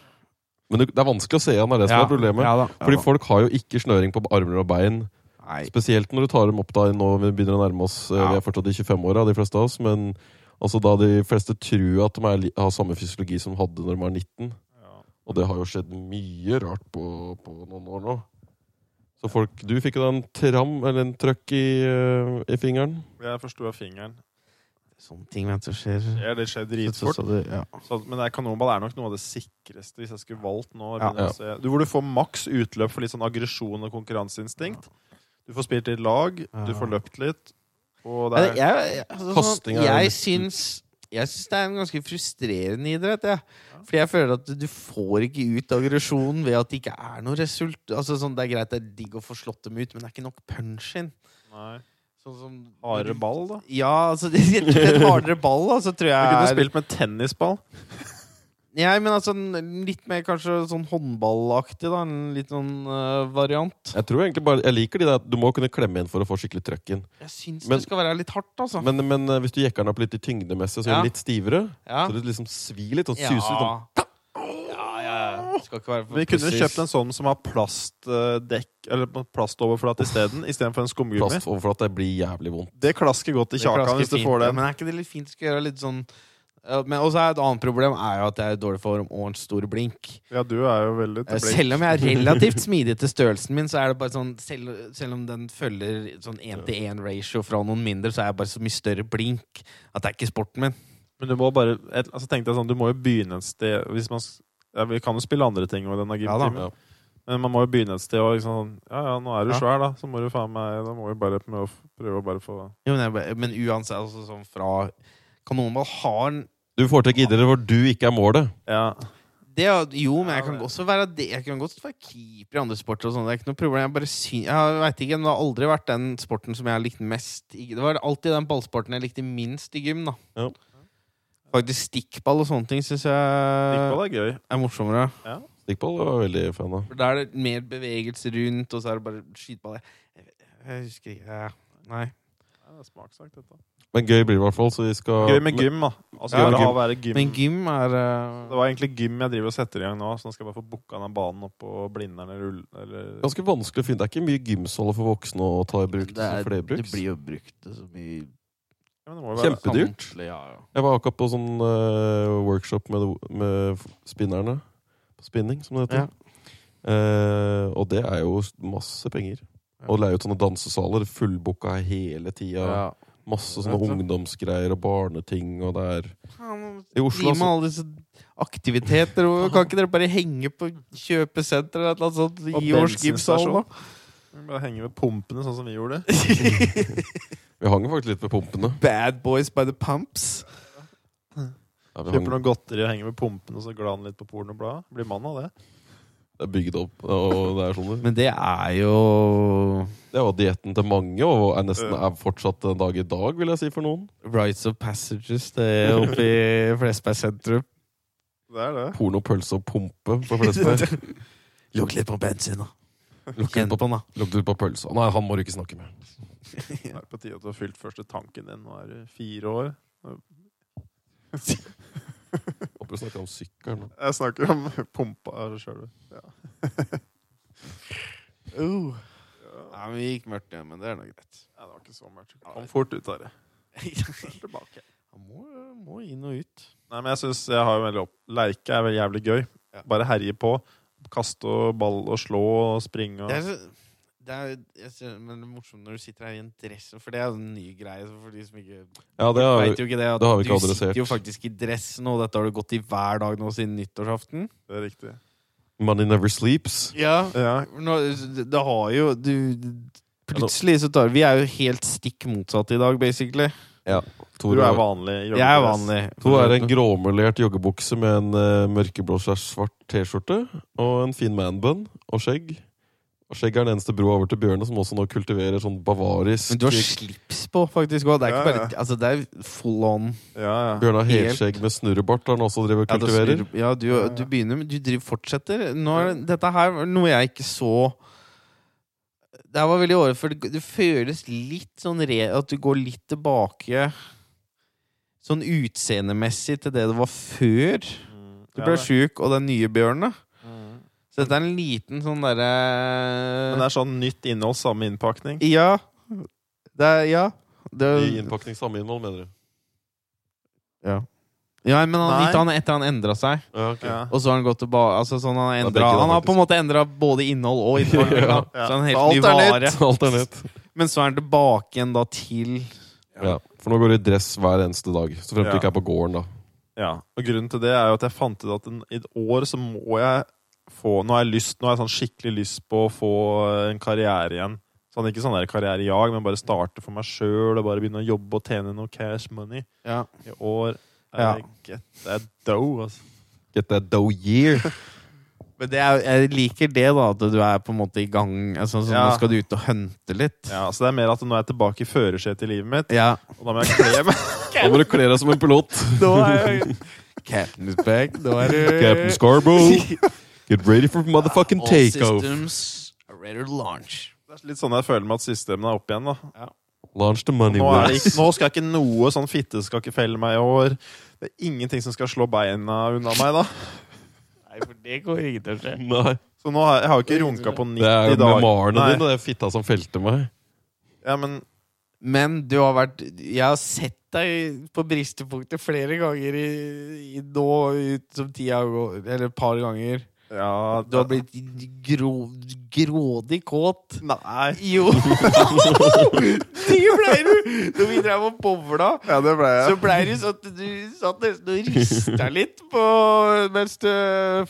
E: Men det det er vanskelig å se han, det er det som er problemet.
D: Ja, da.
E: Fordi
D: ja, da.
E: folk har jo ikke snøring på armer og bein.
D: Nei.
E: Spesielt når du tar dem opp da nå vi begynner å nærme oss eh,
D: Ja.
E: Vi er fortsatt i 25-åra, de fleste av oss. Men altså, da de fleste tror at de er, li- har samme fysiologi som de hadde når de var 19.
C: Ja.
E: Og det har jo skjedd mye rart på, på noen år nå. Så folk Du fikk jo da en tram, eller en trøkk i, eh, i fingeren.
C: Jeg forstua fingeren.
D: Sånne ting vet du skjer.
C: Ja, det skjer
D: Så-
C: dritfort.
D: så det- ja.
C: Så, men det er kanonball er nok noe av det sikreste hvis jeg skulle valgt nå.
D: Ja.
C: begynner å se- Du, hvor du får maks utløp for litt sånn aggresjon og konkurranseinstinkt. Du får spilt litt lag, du
D: Ja.
C: får løpt litt. Og det
D: Jeg,
C: er,
D: jeg, altså, sånn,
E: Kasting er
D: at
E: jo
D: jeg
E: nesten-
D: syns jeg syns det er en ganske frustrerende idrett. Jeg. Fordi jeg føler at du får ikke ut aggresjonen ved at det ikke er noe result. Altså, sånn, det er greit, det er digg å få slått dem ut, men det er ikke nok punch in.
C: nei,
D: Sånn som
C: hardere ball, da.
D: Ja, altså, det er rett og slett hardere ball, da, så tror
C: Du kunne
D: jeg er
C: spilt med tennisball.
D: Ja, men altså, en litt mer kanskje sånn håndballaktig, da. En litt sånn eh, variant.
E: Jeg tror egentlig bare, jeg liker de der at du må kunne klemme inn for å få skikkelig trøkk inn.
D: Jeg syns
E: Men-
D: det skal være litt hardt, altså.
E: Men, men eh, hvis du jekker den opp litt i tyngdemessig, så er
D: Ja.
E: den litt stivere.
D: ja.
E: Så det liksom svir litt og
D: ja.
E: suser litt. sånn.
D: Ja, ja, ja. Skal ikke være for
C: Vi kunne
D: presis.
C: kjøpt en sånn som har plastdekk Eller plastoverflate isteden, istedenfor en skumgummi.
E: Plast overfor at det blir jævlig vondt.
C: Det klasker godt i
D: Det klasker
C: kjakan hvis du
D: fint,
C: får
D: ja,
C: den.
D: Men er ikke det litt fint å skulle gjøre litt sånn Ja, men også er Et annet problem er jo at jeg er i dårlig form og en stor blink.
C: Ja, du er jo veldig
D: Eh,
C: til blink.
D: Selv om jeg er relativt smidig til størrelsen min, så er det bare sånn selv, selv om den følger sånn 1-til-1-ratio fra noen mindre, så er jeg bare så mye større blink at det er ikke sporten min.
C: Men du må bare et- altså tenkte jeg sånn, du må jo begynne et sted hvis man, s- ja, Vi kan jo spille andre ting òg i denne
D: Ja da.
C: gymtimen, men man må jo begynne et sted. Og liksom, sånn, ja, ja, nå er du
D: Ja.
C: svær, da, så må du faen meg Da må vi bare prøve å, f- prøve å bare få
D: Jo, men, jeg, bare- men uansett, altså sånn fra Kanonball har en
E: Du foretrekker idretter hvor du ikke er målet.
C: Ja.
D: Eh, det, er- jo, men
C: Ja,
D: jeg kan
C: det-
D: også være det. Jeg kan godt være keeper i andre sporter. og sånt. Det er ikke noe problem. Jeg bare syn- jeg vet ikke, men Det har aldri vært den sporten som jeg har likt mest. i- Det var alltid den ballsporten jeg likte minst i gym. da
E: Ja.
D: Faktisk stikkball og sånne ting syns jeg
C: Stikkball er
D: er
C: gøy.
D: morsommere.
E: Stikkball var jeg veldig fan av.
D: For Da er det mer bevegelse rundt, og så er det bare skyteball. Jeg, jeg husker ikke ja. Nei.
C: Ja, det er smakssak, dette.
E: Men gøy blir det i hvert fall. Så vi skal
C: Gøy med gym, da. Altså,
D: Ja,
C: bare
E: gym.
C: ha å være gym.
D: Men gym er
C: Det
D: eh,
C: var egentlig gym jeg driver og setter i gang nå, så nå skal jeg bare få booka den banen opp på Blindern eller Ull...
E: Men
C: Eller
E: Ganske vanskelig å finne. Det er ikke mye gymsaler for voksne å ta i bruk.
D: det,
E: til
D: er, det
E: flerbruks.
D: blir jo brukt til så mye
C: ja, men det må jo være
E: Kjempe- Kjempedyrt.
D: samtlig, Ja, ja.
E: Jeg var akkurat på sånn eh, workshop med, med f- spinnerne. På spinning, som det
D: Ja.
E: heter. Eh, og det er jo s- masse penger.
D: Ja.
E: Å leie ut sånne dansesaler, fullbooka hele tida.
D: Ja.
E: Masse sånne
D: Vet du.
E: ungdomsgreier og barneting, og det er
D: Faen,
E: I Oslo,
D: Gi meg alle disse aktiviteter. og Kan ikke dere bare henge på kjøpesenter eller noe sånt?
C: Og
D: Gi oss gymsalen,
C: bensinstasjon. Bare henge ved pumpene, sånn som vi gjorde.
D: da.
E: Vi hang jo faktisk litt ved pumpene.
D: Bad Boys by the Pumps.
E: Ja, vi hang,
C: Kjøper noe godteri og henger ved pumpene og så glane litt på pornobladet. Blir mann av det.
E: det er bygd opp, og det er sånn det
D: Men det er jo
E: Det var dietten til mange, og er nesten
C: Ja.
E: er fortsatt en dag i dag, vil jeg si, for noen.
D: Rights of Passages det er oppe i Flesberg sentrum.
C: Det er det.
E: Porno, pølse og pumpe for flest.
D: Lukk litt på bensin, da.
E: Lukk
D: Kjenn på
E: litt på,
D: den, da.
E: lukk litt på pølsa. Nei, han må du ikke snakke med.
C: Det er på tide at du har fylt første tanken din. Nå er du fire år.
E: Håper du snakker om sykkelen.
C: Jeg snakker om pumpa sjøl.
D: Uh. Ja, men vi gikk mørkt igjen, men det er nå greit.
C: Ja, det var ikke så mørkt. Kom fort ut av det. Så er det tilbake.
D: Han må, må inn og ut.
C: Nei, men jeg synes jeg har jo veldig opp... Leike er veldig jævlig gøy.
D: Ja.
C: Bare herje på. Kaste og ball og slå og springe og
D: Det er, så, det er, jeg ser, men det er morsomt når du sitter her i en dress, for det er jo en ny greie for de som ikke
E: Ja, det
D: Jeg
E: er,
D: vet jo ikke det, at
E: det har vi ikke
D: du
E: adressert.
D: sitter jo faktisk i dress nå. Dette har du gått i hver dag nå siden nyttårsaften.
C: Det er riktig.
E: Money never sleeps.
D: Ja.
C: Ja.
D: Nå, det har jo du, Plutselig så tar Vi er jo helt stikk motsatte i dag, basically.
E: Tor
C: Du er
E: er,
C: vanlig. i
D: Jeg er
C: joggedress.
D: vanlig.
E: Tor er en gråmelert joggebukse med en eh, mørkeblå slash svart T-skjorte og en fin manbun og skjegg. Og skjegget er den eneste broa over til Bjørne, som også nå kultiverer sånn bavarisk
D: Men du har slips på, faktisk. Og det er
C: Ja,
D: ikke
C: ja.
D: bare Altså, det er full on.
C: Ja, ja.
E: Bjørne har
D: helt-
E: helskjegg med snurrebart, har han også driver og
D: Ja, du,
E: kultiverer.
D: snurr- ja, du, du begynner, men du driver, fortsetter. Nå er, det- dette her var noe jeg ikke så Det her var veldig året før. Det, det føles litt sånn re, at du går litt tilbake sånn utseendemessig til det det var før
C: Mm,
D: du
C: ja,
D: ble
C: det-
D: sjuk og den nye bjørnen.
C: Mm.
D: Så dette er en liten sånn
C: Men det
D: derre
C: er sånn nytt innhold, samme innpakning.
D: Ja. Det er Ja.
E: I
D: Det,
E: innpakning samme innhold, mener du?
D: ja men han,
C: Nei.
D: litt, han, etter han endra seg.
E: Ja, ok.
C: Ja.
D: Og så har han gått tilbake altså, sånn han, har
E: Ja,
D: endret-
E: begge da,
D: han har på en
E: faktisk.
D: måte endra både innhold og innhold.
E: Ja,
D: da.
C: ja.
D: Så han er
C: Så alt
D: helt ny
C: er
D: vare.
E: Alt er nett.
D: Men så er han tilbake igjen da til
E: Ja. For nå går du i dress hver eneste dag. Så frem til
C: Ja.
E: du ikke er på gården, da.
C: Ja, og grunnen til det er jo at jeg fant ut at en, i et år så må jeg få Nå har jeg lyst, nå har jeg sånn skikkelig lyst på å få eh, en karriere igjen. Sånn, ikke sånn der karrierejag, men bare starte for meg sjøl og bare begynne å jobbe og tjene noe cash money.
D: ja.
C: I år er
D: Ja.
C: jeg get that dough, altså.
E: Get that dough year.
D: Men det er, jeg liker det, da, at du er på en måte i gang. Altså, sånn,
C: Ja.
D: Nå skal du ut og hunte litt.
C: Ja, så det er mer at nå er jeg tilbake i førersetet i livet mitt,
D: Ja.
C: og da må jeg kle meg
E: Da må du kle deg som en pilot.
D: Da er Captain's back. Da er du
E: Captain Scarborough. Get ready for motherfucking takeoff.
D: systems are ready to launch.
C: Det er litt sånn jeg føler meg at systemene er opp igjen, da.
E: Launch the money
C: Nå, er det ikke,
E: wars.
C: nå skal jeg ikke noe sånn fitte skal ikke felle meg i år. Det er ingenting som skal slå beina unna meg, da.
D: Nei, for det går ikke til å skje.
E: Nei,
C: Så nå har jeg, jeg har jo ikke runka på 90
E: det
C: dager.
E: er jo memoarene
C: Nei.
E: dine, det er fitta som felte meg.
C: Ja, men
D: Men du har vært Jeg har sett deg på bristepunktet flere ganger i, i nå ut som tida går, eller et par ganger.
C: ja,
D: Du har blitt grå, grådig kåt.
C: Nei.
D: Jo! det blei du! Når vi drev og bowla,
C: Ja, det ble
D: så
C: jeg.
D: blei du sånn at du satt nesten og rista litt på mens du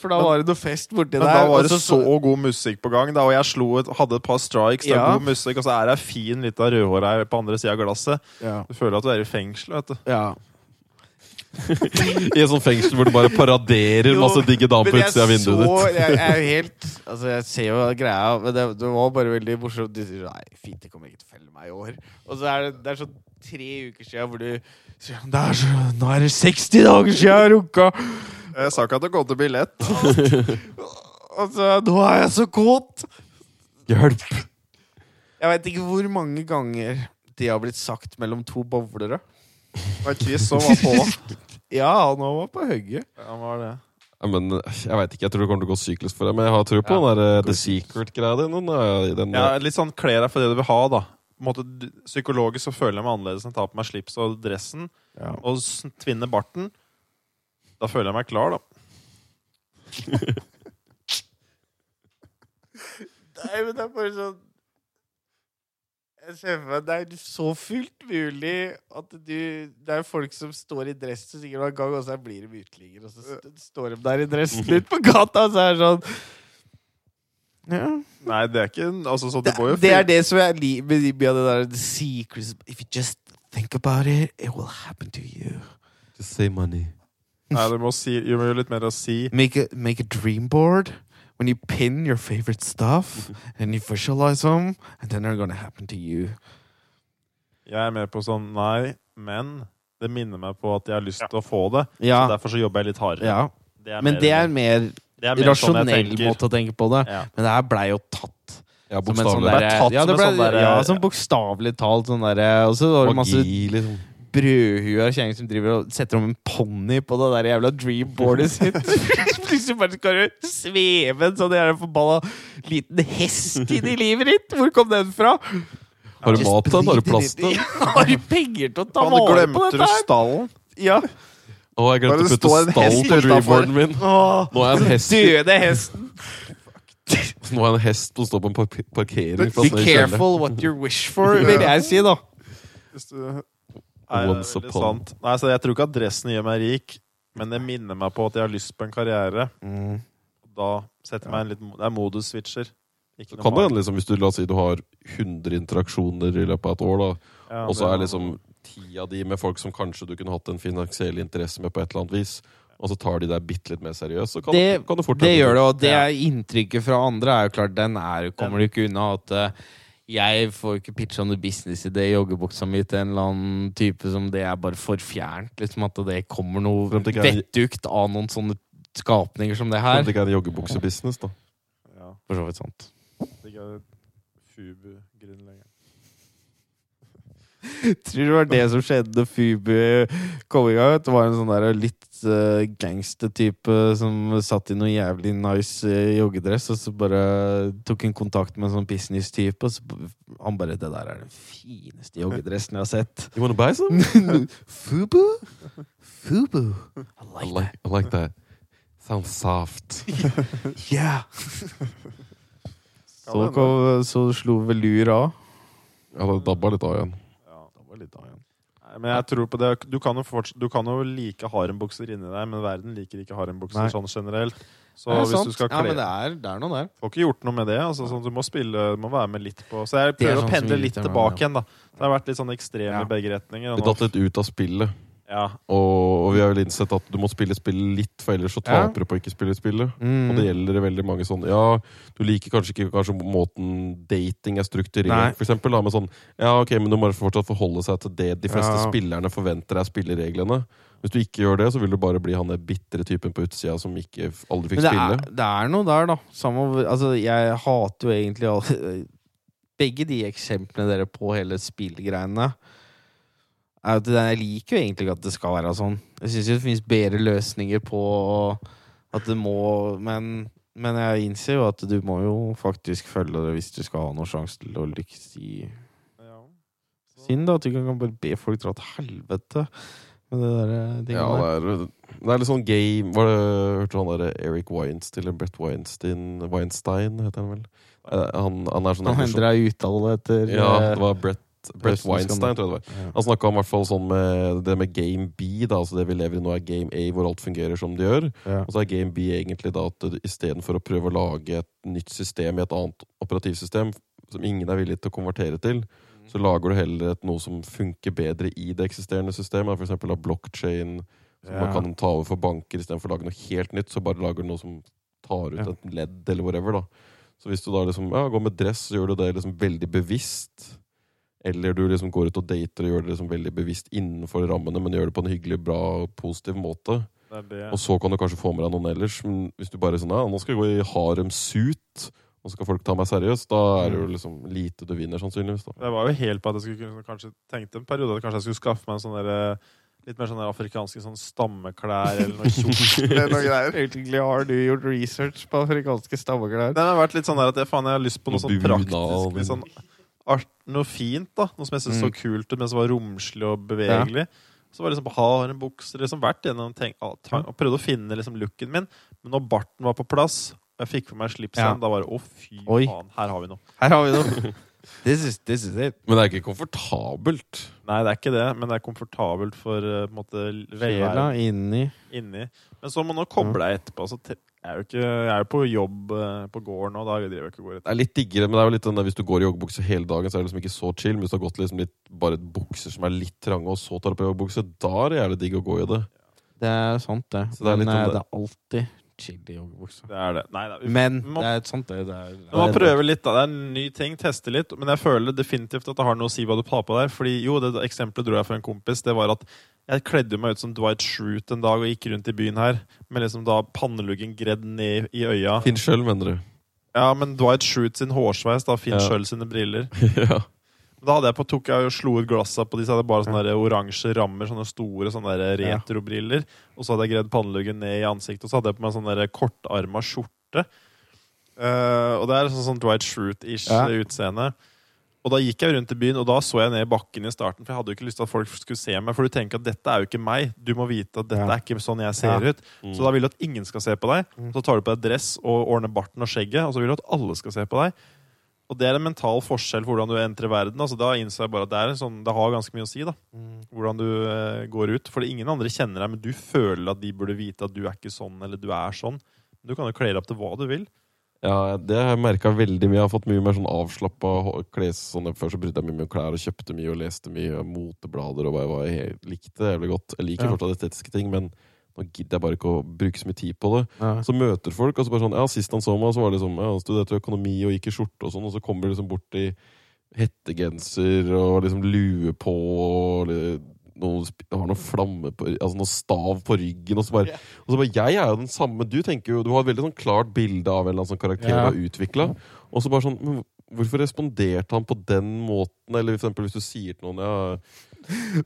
D: For da var det noe fest borti
C: Men
D: der.
C: da var
D: og
C: det altså, så god musikk på gang, da, og jeg slo et, hadde et par strikes. Det er
D: Ja.
C: god musikk, Og så er det ei fin lita rødhåra her på andre sida av glasset.
D: ja,
C: Du føler at du er i fengsel. vet du
D: ja.
E: I et sånt fengsel hvor du bare paraderer
D: Jo,
E: masse digge damer
D: Men
E: på
D: jeg
E: utsida av vinduet
D: så-
E: ditt.
D: Jeg, jeg er jo helt Altså, jeg ser jo greia, men det, det var bare veldig morsomt. Du sier sånn, nei, fint, det kommer ikke til å felle meg i år. Og så er det, det er sånn tre uker siden hvor du sier sånn, det er så, Nå er det 60 dager siden jeg har runka!
C: Jeg sa ikke at det kom til å bli lett.
D: Altså, nå er jeg så kåt!
E: Hjelp!
D: Jeg veit ikke hvor mange ganger det har blitt sagt mellom to bowlere.
C: Men Chris så var på.
D: Ja, han var på hugget.
C: Ja, hva var det?
E: Ja, Men jeg vet ikke, jeg tror det kommer til å gå syklus for deg, men jeg har tro på
C: Ja.
E: den der eh, The Secret-greia di. Den, eh, den,
C: Ja, litt sånn kle deg for det du vil ha, da. På en måte, du- psykologisk så føler jeg meg annerledes når jeg tar på meg slips og dressen
D: Ja.
C: og s- tvinner barten. Da føler jeg meg klar, da.
D: Nei, men det er bare sånn Jeg ser for meg Det er så fullt mulig at du Det er folk som står i dress og sikkert har gang, og så blir de uteliggere, og så st står de der i dressen litt på gata, og så er det sånn ja.
C: Nei, det er ikke altså, så
D: Det,
C: det, går jo
D: det
C: fint.
D: er det som jeg liker med de- med det der The secrets If you just think about it, it will happen to you.
E: Just say money.
C: Nei, du må si, du må jo litt mer å si.
D: Make a, make a dream board when you pin your favorite stuff and you visualize them, and then they're gonna happen to you.
C: Jeg er med på sånn nei, men det minner meg på at jeg har lyst til å få det. Så
D: Ja,
C: derfor så jobber jeg litt hardere.
D: ja.
C: Det er
D: Men
C: mer
D: det er
C: enn-
D: en mer
C: det er mer sånn jeg
D: rasjonell
C: tenker.
D: måte å tenke på det.
C: Ja.
D: Men det her blei jo tatt.
E: Ja,
D: Som en sånn
E: bokstavelig.
C: der- Det ble tatt
D: ja, det
C: som
D: ble,
C: en sånn der-
D: ja, sånn bokstavelig talt sånn derre Og så var det masse
E: Magi, liksom.
D: brødhua kjerring som driver og setter om en ponni på det der jævla dreamboardet sitt. Plutselig bare skal du sveve en sånn jævla forbanna liten hest inn i livet ditt! Hvor kom den fra?
E: Har du
D: Just
E: mat til den? Har du
D: believe
E: plass
D: in
E: til
D: it.
E: den?
D: Har du penger til å ta
C: Faen, det
D: vare på
C: glemte du
D: dette her?
C: stallen?
D: Ja.
E: Å, jeg
C: Bare
E: glemte å
C: det står en
E: putte stall
C: hest
E: på
C: utenfor.
E: reworden min.
D: Åh,
E: Nå er jeg en hest,
D: døde hesten.
E: nå er jeg en hest som står på en park- parkering. fast
D: Be
E: nede i kjelleren.
D: careful what you wish for, vil jeg si, da.
C: Hvis du... Nei, det
E: Once
C: er veldig
E: upon.
C: sant. Nei, så jeg tror ikke at dressen gjør meg rik, men det minner meg på at jeg har lyst på en karriere.
E: Mm.
C: Da setter jeg meg en litt Det er modus-switcher. Ikke noe
E: Kan det
C: mer.
E: hende liksom, hvis du la oss si du har 100 interaksjoner i løpet av et år, da,
C: Ja,
E: og så
C: det-
E: er liksom ti av de med folk som kanskje du kunne hatt en finansiell interesse med på et eller annet vis, og så tar de deg bitte litt mer seriøst, så kan,
D: Det-
E: du, kan du fort
D: Det gjør det, og det er inntrykket fra andre er jo klart, den er, jo- kommer du ikke unna at eh, jeg får ikke pitcha noe businessidé i joggebuksa mi til en eller annen type som det er bare for fjernt. Liksom at det kommer noe
E: Frem til ikke-
D: vettugt av noen sånne skapninger som det
E: Om
D: her.
E: det ikke er joggebuksebusiness, da.
C: Ja,
D: For så vidt sant.
C: det er Fubu-grunnleggeren.
D: Tror du det var det som skjedde da Fubu kom i gang? Det var en sånn der litt uh, gangstertype som satt i noe jævlig nice eh, joggedress, og så bare tok en kontakt med en sånn business-type, og så b- han bare 'Det der er den fineste joggedressen jeg har sett'.
E: You wanna buy some?
D: Fubu? Fubu. I
E: I
D: like
E: like, I like that. Sounds soft.
D: it. Yeah. Så, kom, så slo velur av.
E: Ja, det dabba litt av igjen.
C: Ja.
D: Det var litt av igjen.
C: Nei, Men jeg tror på det. Du kan jo, forts- du kan jo like harembukser inni deg, men verden liker ikke harembukser
D: Nei.
C: sånn generelt. Så
D: Det er
C: hvis
D: sant.
C: du skal
D: ja,
C: kle
D: men det er, det er noe der.
C: Får ikke gjort noe med det. Altså, sånn, du må spille, du må være med litt på Så jeg
D: Det er
C: prøver
D: sånn
C: å
D: som
C: pendle
D: irriterer
C: litt
D: meg,
C: tilbake
D: ja.
C: igjen, da. Det har vært litt sånn ekstrem
D: Ja.
C: i begge retninger.
E: Vi
C: Og nå,
E: datt litt ut av spillet,
C: ja,
E: og, og vi har vel innsett at du må spille spillet litt, for ellers så
D: Ja.
E: taper du på å ikke spille spillet. Og
D: Mm.
E: det gjelder i veldig mange sånn Ja, du liker kanskje ikke kanskje måten dating
D: Nei.
E: er strukturert for eksempel, da, men sånn Ja, ok, men du må fortsatt forholde seg til det de fleste
D: Ja.
E: spillerne forventer er spillereglene. Hvis du ikke gjør det, så vil du bare bli han der bitre typen på utsida som ikke aldri
D: Men
E: fikk
D: det
E: spille.
D: er, det er noe der, da. Samme, hvor- altså, jeg hater jo egentlig alle Begge de eksemplene dere på hele spillgreiene er at det- Jeg liker jo egentlig ikke at det skal være sånn. Jeg syns det finnes bedre løsninger på at det må Men, men jeg innser jo at du må jo faktisk følge det hvis du skal ha noen sjanse til å lykkes i
C: ja.
D: sin. da At du ikke kan bare be folk dra til helvete med det derre
E: Ja,
D: tinget der. eh,
E: det er, det er litt sånn game Var det, Hørte du han der Eric Weinstein eller Brett Weinstein Weinstein, heter han vel? Eh, Han, han er sånn
D: Han endra uttale etter
E: Ja,
D: eh,
E: det var Brett, Brett
D: Østens
E: Weinstein, tror jeg det var.
D: ja.
E: Han snakka om i hvert fall sånn med det med game B, da, altså det vi lever i nå er game A, hvor alt fungerer som det gjør.
D: Ja.
E: Og så er game B egentlig da at istedenfor å prøve å lage et nytt system i et annet operativsystem som ingen er villig til å konvertere til, så lager du heller et, noe som funker bedre i det eksisterende systemet. F.eks. av blockchain, som
D: Ja.
E: man kan ta over for banker istedenfor å lage noe helt nytt. Så bare lager du noe som tar ut
D: Ja.
E: et ledd, eller whatever. da. Så hvis du da liksom, ja, går med dress, så gjør du det liksom veldig bevisst. Eller du liksom går ut og dater og gjør det liksom veldig bevisst innenfor rammene, men gjør det på en hyggelig, bra, positiv måte.
C: Det er det.
E: Og så kan du kanskje få med deg noen ellers. Men hvis du bare er sånn, ja, nå skal jeg gå i harem-suit, og så skal folk ta meg seriøst, da er
D: Mm.
E: det jo liksom lite du vinner, sannsynligvis. da.
C: Jeg var jo helt på at jeg skulle kunne kanskje tenkte en periode at kanskje jeg skulle skaffe meg en sånn derre Litt mer sånne afrikanske sånn stammeklær eller noe kjortel. eller noe greier.
D: Egentlig har du gjort research på afrikanske stammeklær.
C: Den har vært litt sånn der at jeg, faen, jeg har lyst på noe
E: Noe
C: sånn
E: bunad.
C: praktisk. Litt sånn art, noe fint, da. Noe som jeg syntes så
D: Mm.
C: kult ut, men som var romslig og bevegelig. Så var det liksom på haren, bukser liksom vært gjennom tenk, ah, ta- og prøvde å finne liksom looken min. Men når barten var på plass, og jeg fikk på meg slipsen,
D: Ja.
C: da var det å, fy
D: Oi.
C: faen, her har vi noe.
D: Her har vi noe. This is, this is it.
E: Men det er ikke komfortabelt.
C: Nei, det er ikke det, men det er komfortabelt for eh, på en måte
D: Sjela
C: velværen
D: inni.
C: inni. Men så må man koble deg etterpå. Så te- jeg er jo ikke, jeg er jo på jobb eh, på gården, og da driver jeg ikke og går
E: Det er litt diggere, men det er jo litt den der, hvis du går i joggebukse hele dagen, så er det liksom ikke så chill. Men hvis du har gått liksom litt, bare bukser som er litt trange, og så tar du på joggebukse, da er det jævlig digg å gå i det.
D: Det er sant, det.
E: Så det er litt
D: Men eh,
E: om
D: det
E: det.
D: er alltid chill i joggebuksa.
C: Det er det. Nei, nei, vi-
D: Men
C: vi må
D: det er sant, det. det er,
C: Du må prøve litt, da. Det er en ny ting. Teste litt. Men jeg føler definitivt at det har noe å si hva du har på der. Fordi jo, det eksempelet dro jeg fra en kompis. Det var at jeg kledde meg ut som Dwight Schrute en dag og gikk rundt i byen her med liksom da panneluggen gredd ned i øya.
E: Finn sjøl, mener du.
C: Ja, men Dwight Schrute sin hårsveis, da. Finn
E: Ja.
C: sjøl sine briller.
E: ja.
C: Men Da hadde jeg på, tok jeg og slo ut glassa på de, så hadde jeg bare sånne der oransje rammer, sånne store sånne der
D: Ja.
C: retrobriller. Og så hadde jeg gredd panneluggen ned i ansiktet, og så hadde jeg på meg sånn der kortarma skjorte. Eh, og det er sånn, sånn Dwight Schrute-ish
D: Ja.
C: utseende. Og da gikk jeg rundt i byen, og da så jeg ned i bakken i starten. For jeg hadde jo ikke lyst til at folk skulle se meg, for du tenker at dette er jo ikke meg. Du må vite at dette
D: Ja.
C: er ikke sånn jeg ser
D: Ja. Mm.
C: ut. Så da vil du at ingen skal se på deg. Så tar du på deg dress og ordner barten og skjegget, og så vil du at alle skal se på deg. Og det er en mental forskjell for hvordan du entrer verden. Altså, da innså jeg bare at det, er en sånn, det har ganske mye å si, da.
D: Mm.
C: Hvordan du eh, går ut. Fordi ingen andre kjenner deg, men du føler at de burde vite at du er ikke sånn, eller du er sånn. Du kan jo kle deg opp til hva du vil.
E: ja, det har jeg merka veldig mye. Jeg har fått mye mer sånn avslappa kles. Sånn, før så brydde jeg meg mye om klær og kjøpte mye og leste mye moteblader og hva jeg, hva jeg likte jævlig godt. Jeg liker
D: Ja.
E: fortsatt estetiske ting, men nå gidder jeg bare ikke å bruke så mye tid på det.
D: Ja.
E: Så møter folk, og så bare sånn Ja, sist han så meg, så var det liksom ja, Han studerte økonomi og gikk i skjorte og sånn, og så kommer de liksom bort i hettegenser og liksom lue på og li- noe, sp- har noe flamme på Altså noe stav på ryggen, og så bare Og så bare Jeg er jo den samme. Du tenker jo Du har et veldig sånn klart bilde av en eller annen sånn karakter
C: Ja.
E: du har utvikla, og så bare sånn men Hvorfor responderte han på den måten? Eller for eksempel hvis du sier til noen ja,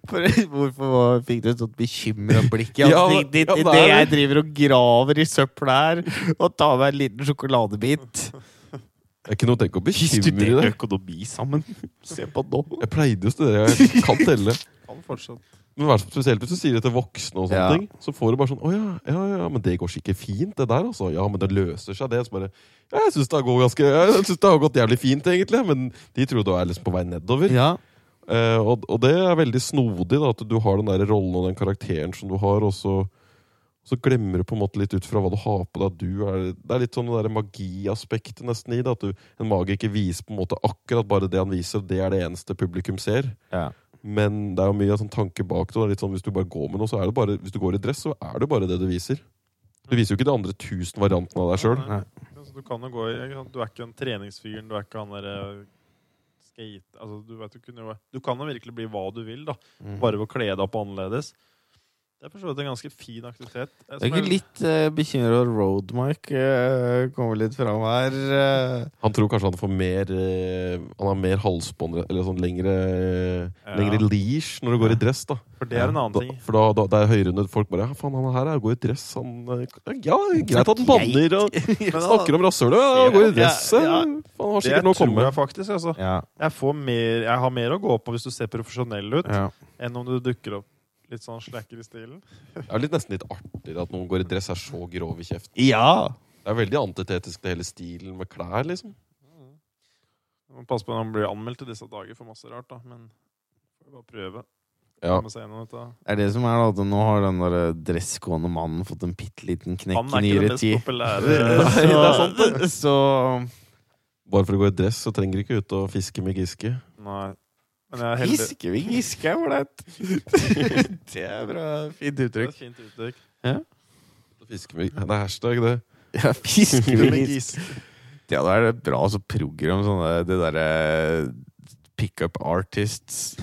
D: For, hvorfor var, fikk du et sånt bekymra blikk Altså, i
E: Ja,
D: ansiktet ditt
E: ja, det
D: idet
E: er
D: jeg
E: det.
D: driver og graver i søpla her og tar meg en liten sjokoladebit?
E: Det er ikke noe å tenke å
D: Vi
E: bekymre
D: studerte
E: deg.
D: økonomi sammen. Se på nå.
E: Jeg pleide å studere, jeg kan telle.
C: Kan fortsatt.
E: Men hver, spesielt hvis du sier det til voksne, og sånne
D: Ja.
E: ting så får du bare sånn Å ja, ja, ja, men det går sikkert fint, det der, altså. Ja, men det løser seg, det. Så bare «Ja, Jeg syns det, har gått ganske- jeg synes det har gått jævlig fint, egentlig, men de tror du er liksom på vei nedover.
D: Ja.
E: Eh, og, og det er veldig snodig, da, at du har den der rollen og den karakteren som du har, og så, så glemmer du på en måte litt ut fra hva du har på deg. at Du er, det er litt sånn det der magiaspektet nesten i det. At du, en magiker viser på en måte akkurat bare det han viser, og det er det eneste publikum ser.
C: Ja.
E: Men det er jo mye sånn tanke bak det. og det er Litt sånn, hvis du bare går med noe, så er det bare, hvis du går i dress, så er det jo bare det du viser. Du viser jo ikke de andre tusen variantene av deg sjøl.
C: Nei. Altså, du kan jo gå i ikke sant? Du er ikke den treningsfyren, du er ikke han derre skate altså, du, vet, du, kunne jo, du kan jo virkelig bli hva du vil, da.
E: Mhm.
C: Bare ved å kle deg opp annerledes. Det er for så vidt en ganske fin aktivitet. eh,
D: Jeg
C: som
D: er ikke
C: er-
D: litt uh, bekymra over Roadmark. eh, kommer litt fram her. eh.
E: Han tror kanskje han får mer eh, Han har mer halsbånd eller sånn lengre,
C: Ja.
E: lengre leash når du går i dress. da
C: For det er en annen
E: da,
C: ting.
E: For da, da det er høyere under folk bare Ja, faen, han her er, går i dress. Han eh, Ja, greit at han banner og
C: Men da-
E: snakker om rasshølet. Ja, han går i dress. eh,
D: Ja, ja.
E: Faen, han har
C: det
E: sikkert noe å
C: tror
E: komme
C: jeg faktisk. Altså.
D: Ja,
C: Jeg, får mer, jeg har mer å gå på hvis du ser profesjonell ut,
D: ja.
C: enn om du dukker opp litt sånn slacker i stilen.
E: Det er litt, nesten litt artigere at noen går i dress, er så grov i kjeften.
D: ja.
E: Det er veldig antitetisk, det hele stilen med klær, liksom.
C: Du må passe på når man blir anmeldt i disse dager for masse rart, da. Men får bare prøve.
E: Ja.
C: Komme seg gjennom dette.
D: Det er det som er da, at nå har den der dressgående mannen fått en bitte liten
C: Han
D: knekk i
C: er ikke den
D: nyere
C: mest
D: tid.
C: populære.
D: Så-
E: det er sant,
D: Så
E: Bare for å gå i dress, så trenger du ikke ut og fiske med Giske.
C: Nei. Men jeg er heldig.
D: Giske vi giske er ålreit. Det er bra. Fint
C: Det er et
D: uttrykk.
C: fint uttrykk.
E: Fiske med, det er hashtag, det.
D: Ja, fiske vi
C: Men
D: giske.
C: gis-
D: Ja, da er det bra så program sånne Det derre Pickup artists.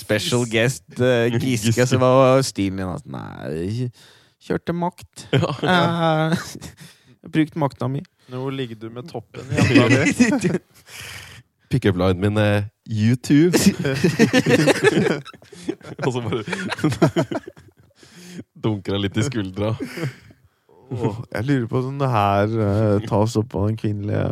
D: Special guest. eh, giske.
E: Giske.
D: Så hva var stilen din? Altså, nei, kjørte makt. Eh, Brukt makta mi.
C: Nå ligger du med toppen i handa di.
E: Pickup-linen min er YouTube. og så bare Dunker deg litt i skuldra.
D: jeg lurer på om det her tas opp av den kvinnelige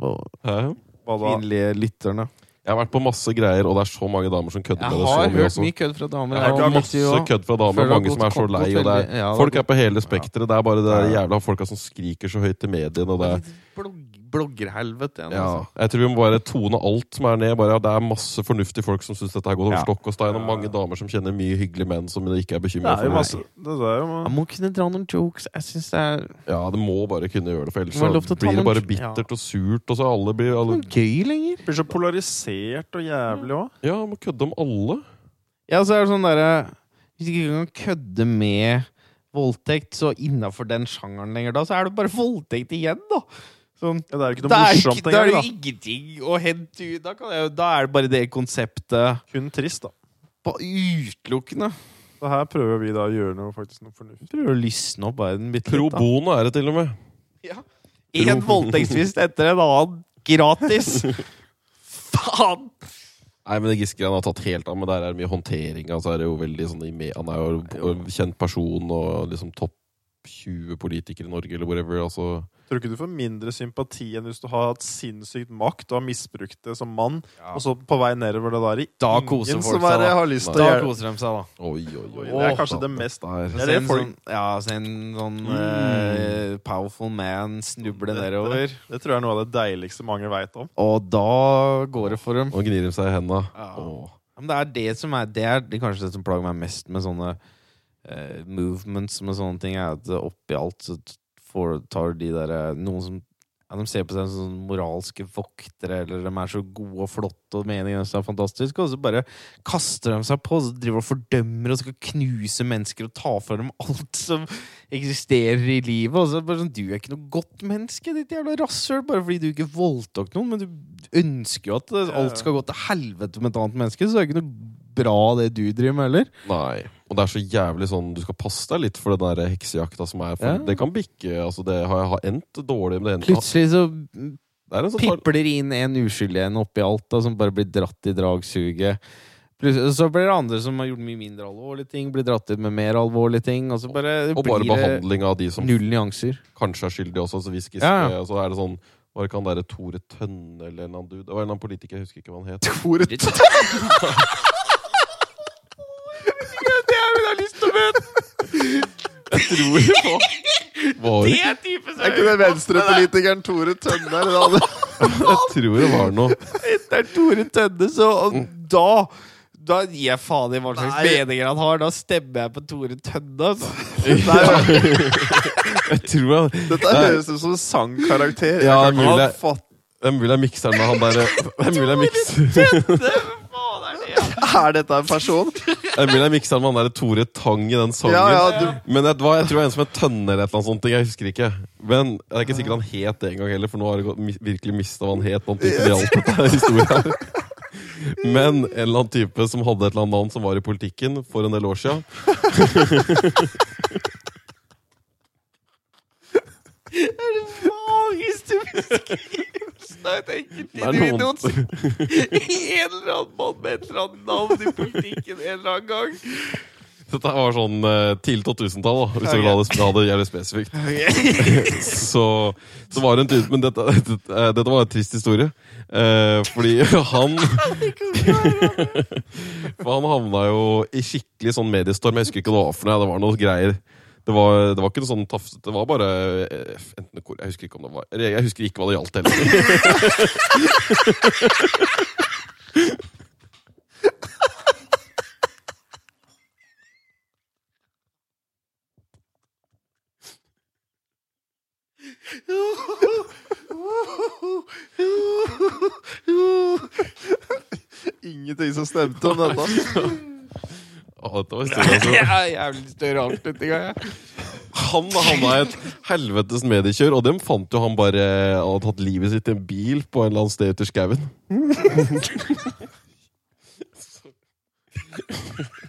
E: Hæ?
C: Hva da?
D: Kvinnelige lytterne.
E: Jeg har vært på masse greier, og det er så mange damer som kødder
D: Jeg
E: med det.
D: har
E: så mye
D: hørt
E: også.
D: mye kødd fra damer.
E: Jeg har
D: og
E: hørt masse
D: også-
E: kødd fra
D: Føler
E: damer,
D: det har
E: mange som er
D: gått
E: så
D: kort
E: lei.
D: mot
E: og det
D: veldig- ja,
E: er,
D: det har
E: Folk er på hele spekteret. Det er bare det der
D: Ja.
E: jævla folka som skriker så høyt i mediene. Og det er,
D: Det er Altså, blogg- Bloggerhelvete. igjen,
E: ja,
D: altså.
E: jeg tror vi må bare tone alt som er ned. Bare, ja, det er masse fornuftige folk som syns dette her går over
D: Ja.
E: stokk og stein. Og
C: Ja.
E: mange damer som kjenner mye hyggelige menn som ikke er
C: Det
E: bekymra
C: er jo
E: for
C: masse Det er jo
D: Jeg må kunne dra noen jokes. Jeg synes det er
E: Ja, det må bare kunne gjøre det, for ellers
D: Det var lov til
E: så
D: å ta
E: blir det
D: noen- Mm.
E: bare bittert og surt. Og så alle blir alle,
D: ikke gøy lenger.
C: Det blir så polarisert og jævlig òg.
E: Ja, må kødde om alle.
D: Ja, så er det sånn derre Hvis du ikke kan kødde med voldtekt, så innafor den sjangeren lenger da, så er det bare voldtekt igjen, da. Sånn.
C: Ja, det er jo ikke
D: Da
C: noe
D: er, ikke,
C: morsomt
D: da er det
C: engang.
D: jo ingenting å hente ut. Da, kan jeg, jo- da er det bare det konseptet
C: da. Kun trist, da.
D: på utelukkende.
C: Så her prøver vi da å gjøre noe faktisk noe fornuftig.
D: Prøver å lysne opp verden bitte
E: Pro
D: litt. da.
E: bono er det til og med.
D: Ja. En voldtektsvist etter en annen gratis. Faen!
E: Nei, men det Giske-greia har tatt helt av, men der er det mye håndtering. Altså, er det jo veldig sånn, i me- han er jo en kjent person og liksom topp 20 politikere i Norge eller whatever. Altså.
C: Tror ikke du får mindre sympati enn hvis du har hatt sinnssykt makt og har misbrukt det som mann, og så på vei nedover det der i
D: Da
C: ingen
D: koser folk
C: som
D: seg,
C: er,
D: da.
C: har lyst til å
D: Da
C: gjøre
D: koser de seg, da.
E: Oi, oi, oi.
C: Det er kanskje det mest Det
E: Der.
C: er
D: Se
C: det
D: en
C: folk-
D: sånn, ja, se en sånn
E: Mm.
D: eh, powerful man snuble nedover.
C: Det tror jeg er noe av det deiligste mange veit om.
D: Og da går det for dem.
E: Nå gnir de seg i henda.
D: Ja.
E: Åh.
D: Men det er det som er Det er det kanskje det som plager meg mest med sånne eh, sånn movements med sånne ting, er at oppi alt så får, tar de derre eh, Noen som Ja, de ser på seg som sånn moralske voktere, eller de er så gode og flotte og meningen deres er fantastisk, og så bare kaster de seg på og så driver og fordømmer og skal knuse mennesker og ta fra dem alt som eksisterer i livet. Og så er det bare sånn, Du er ikke noe godt menneske, ditt jævla rasshøl, bare fordi du ikke voldtok noen. Men du ønsker jo at alt skal gå til helvete med et annet menneske, så det er ikke noe bra det du driver med heller.
E: Nei. Og det er så jævlig sånn Du skal passe deg litt for den der heksejakta som er. For
D: Ja.
E: Det kan bikke. altså Det har, har endt dårlig. Men det, endte,
D: Plutselig så
E: det er en sånn tar-
D: pipler inn en uskyldig en oppi alt, da, som bare blir dratt i dragsuget. Plutselig- Så blir det andre som har gjort mye mindre alvorlige ting, blir dratt inn med mer alvorlige ting. Og så bare
E: Og bare
D: blir det
E: behandling av de som
D: null nyanser.
E: kanskje er skyldige også. Altså hvis Giske,
D: Ja, ja.
E: Og så er det sånn Var det ikke han derre Tore Tønne eller en eller annen dude? Det var en eller annen politiker, jeg husker ikke hva han het.
C: Hvor et
D: Det er hun har lyst til å møte!
E: Tror du på? Var,
D: Det er typen som
C: Er ikke det venstrepolitikeren Tore Tønne eller noe annet?
E: jeg tror det var noe.
D: Det er Tore Tønnes, og, og da da gir jeg faen i hva slags
C: Nei.
D: meninger han har. Da stemmer jeg på Tore Tønne. Altså.
C: Nei,
E: Jeg tror jeg,
C: Dette høres ut som en sangkarakter.
E: Ja,
C: Jeg kan ikke
E: mulig.
C: ha fatt-
E: det er mulig jeg mikser den med han derre Det er mulig jeg mikser
C: Er dette en person?
E: Det er mulig jeg mikser den med han derre Tore Tang i den sangen.
C: Ja, ja, du
E: Men jeg, hva, jeg tror det var en som het Tønne eller et eller annet sånt. Jeg husker ikke. Men jeg er ikke sikker han het det en gang heller, for nå har jeg gått- mi- virkelig mista hva han het. Blant de som hjalp dette her historien her. Men en eller annen type som hadde et eller annet navn som var i politikken for en del år siden.
D: Mageste beskrivelsen av et enkeltindivid
E: Det
D: En eller annen mann med et eller annet navn i politikken en eller annen gang.
E: Dette var sånn eh, tidlig 2000-tall, da, hvis du vil ha det, ha det jævlig spesifikt. Så, så var det en type Men dette, dette, eh, dette var en trist historie. Eh, fordi han For han havna jo i skikkelig sånn mediestorm. Jeg husker ikke hva det var for noe. Det var noe greier. Det var, det var ikke noe sånn tafsete. Det var bare eh, enten, kor- Jeg husker ikke om det var Jeg husker ikke hva det gjaldt heller.
C: Ingenting som stemte om dette.
E: Å, dette var historien, altså.
D: Jeg har jævlig større avslutning. jeg.
E: Han havna i et helvetes mediekjør, og dem fant jo han bare Han hadde tatt livet sitt i en bil på en eller annen sted ute i skauen.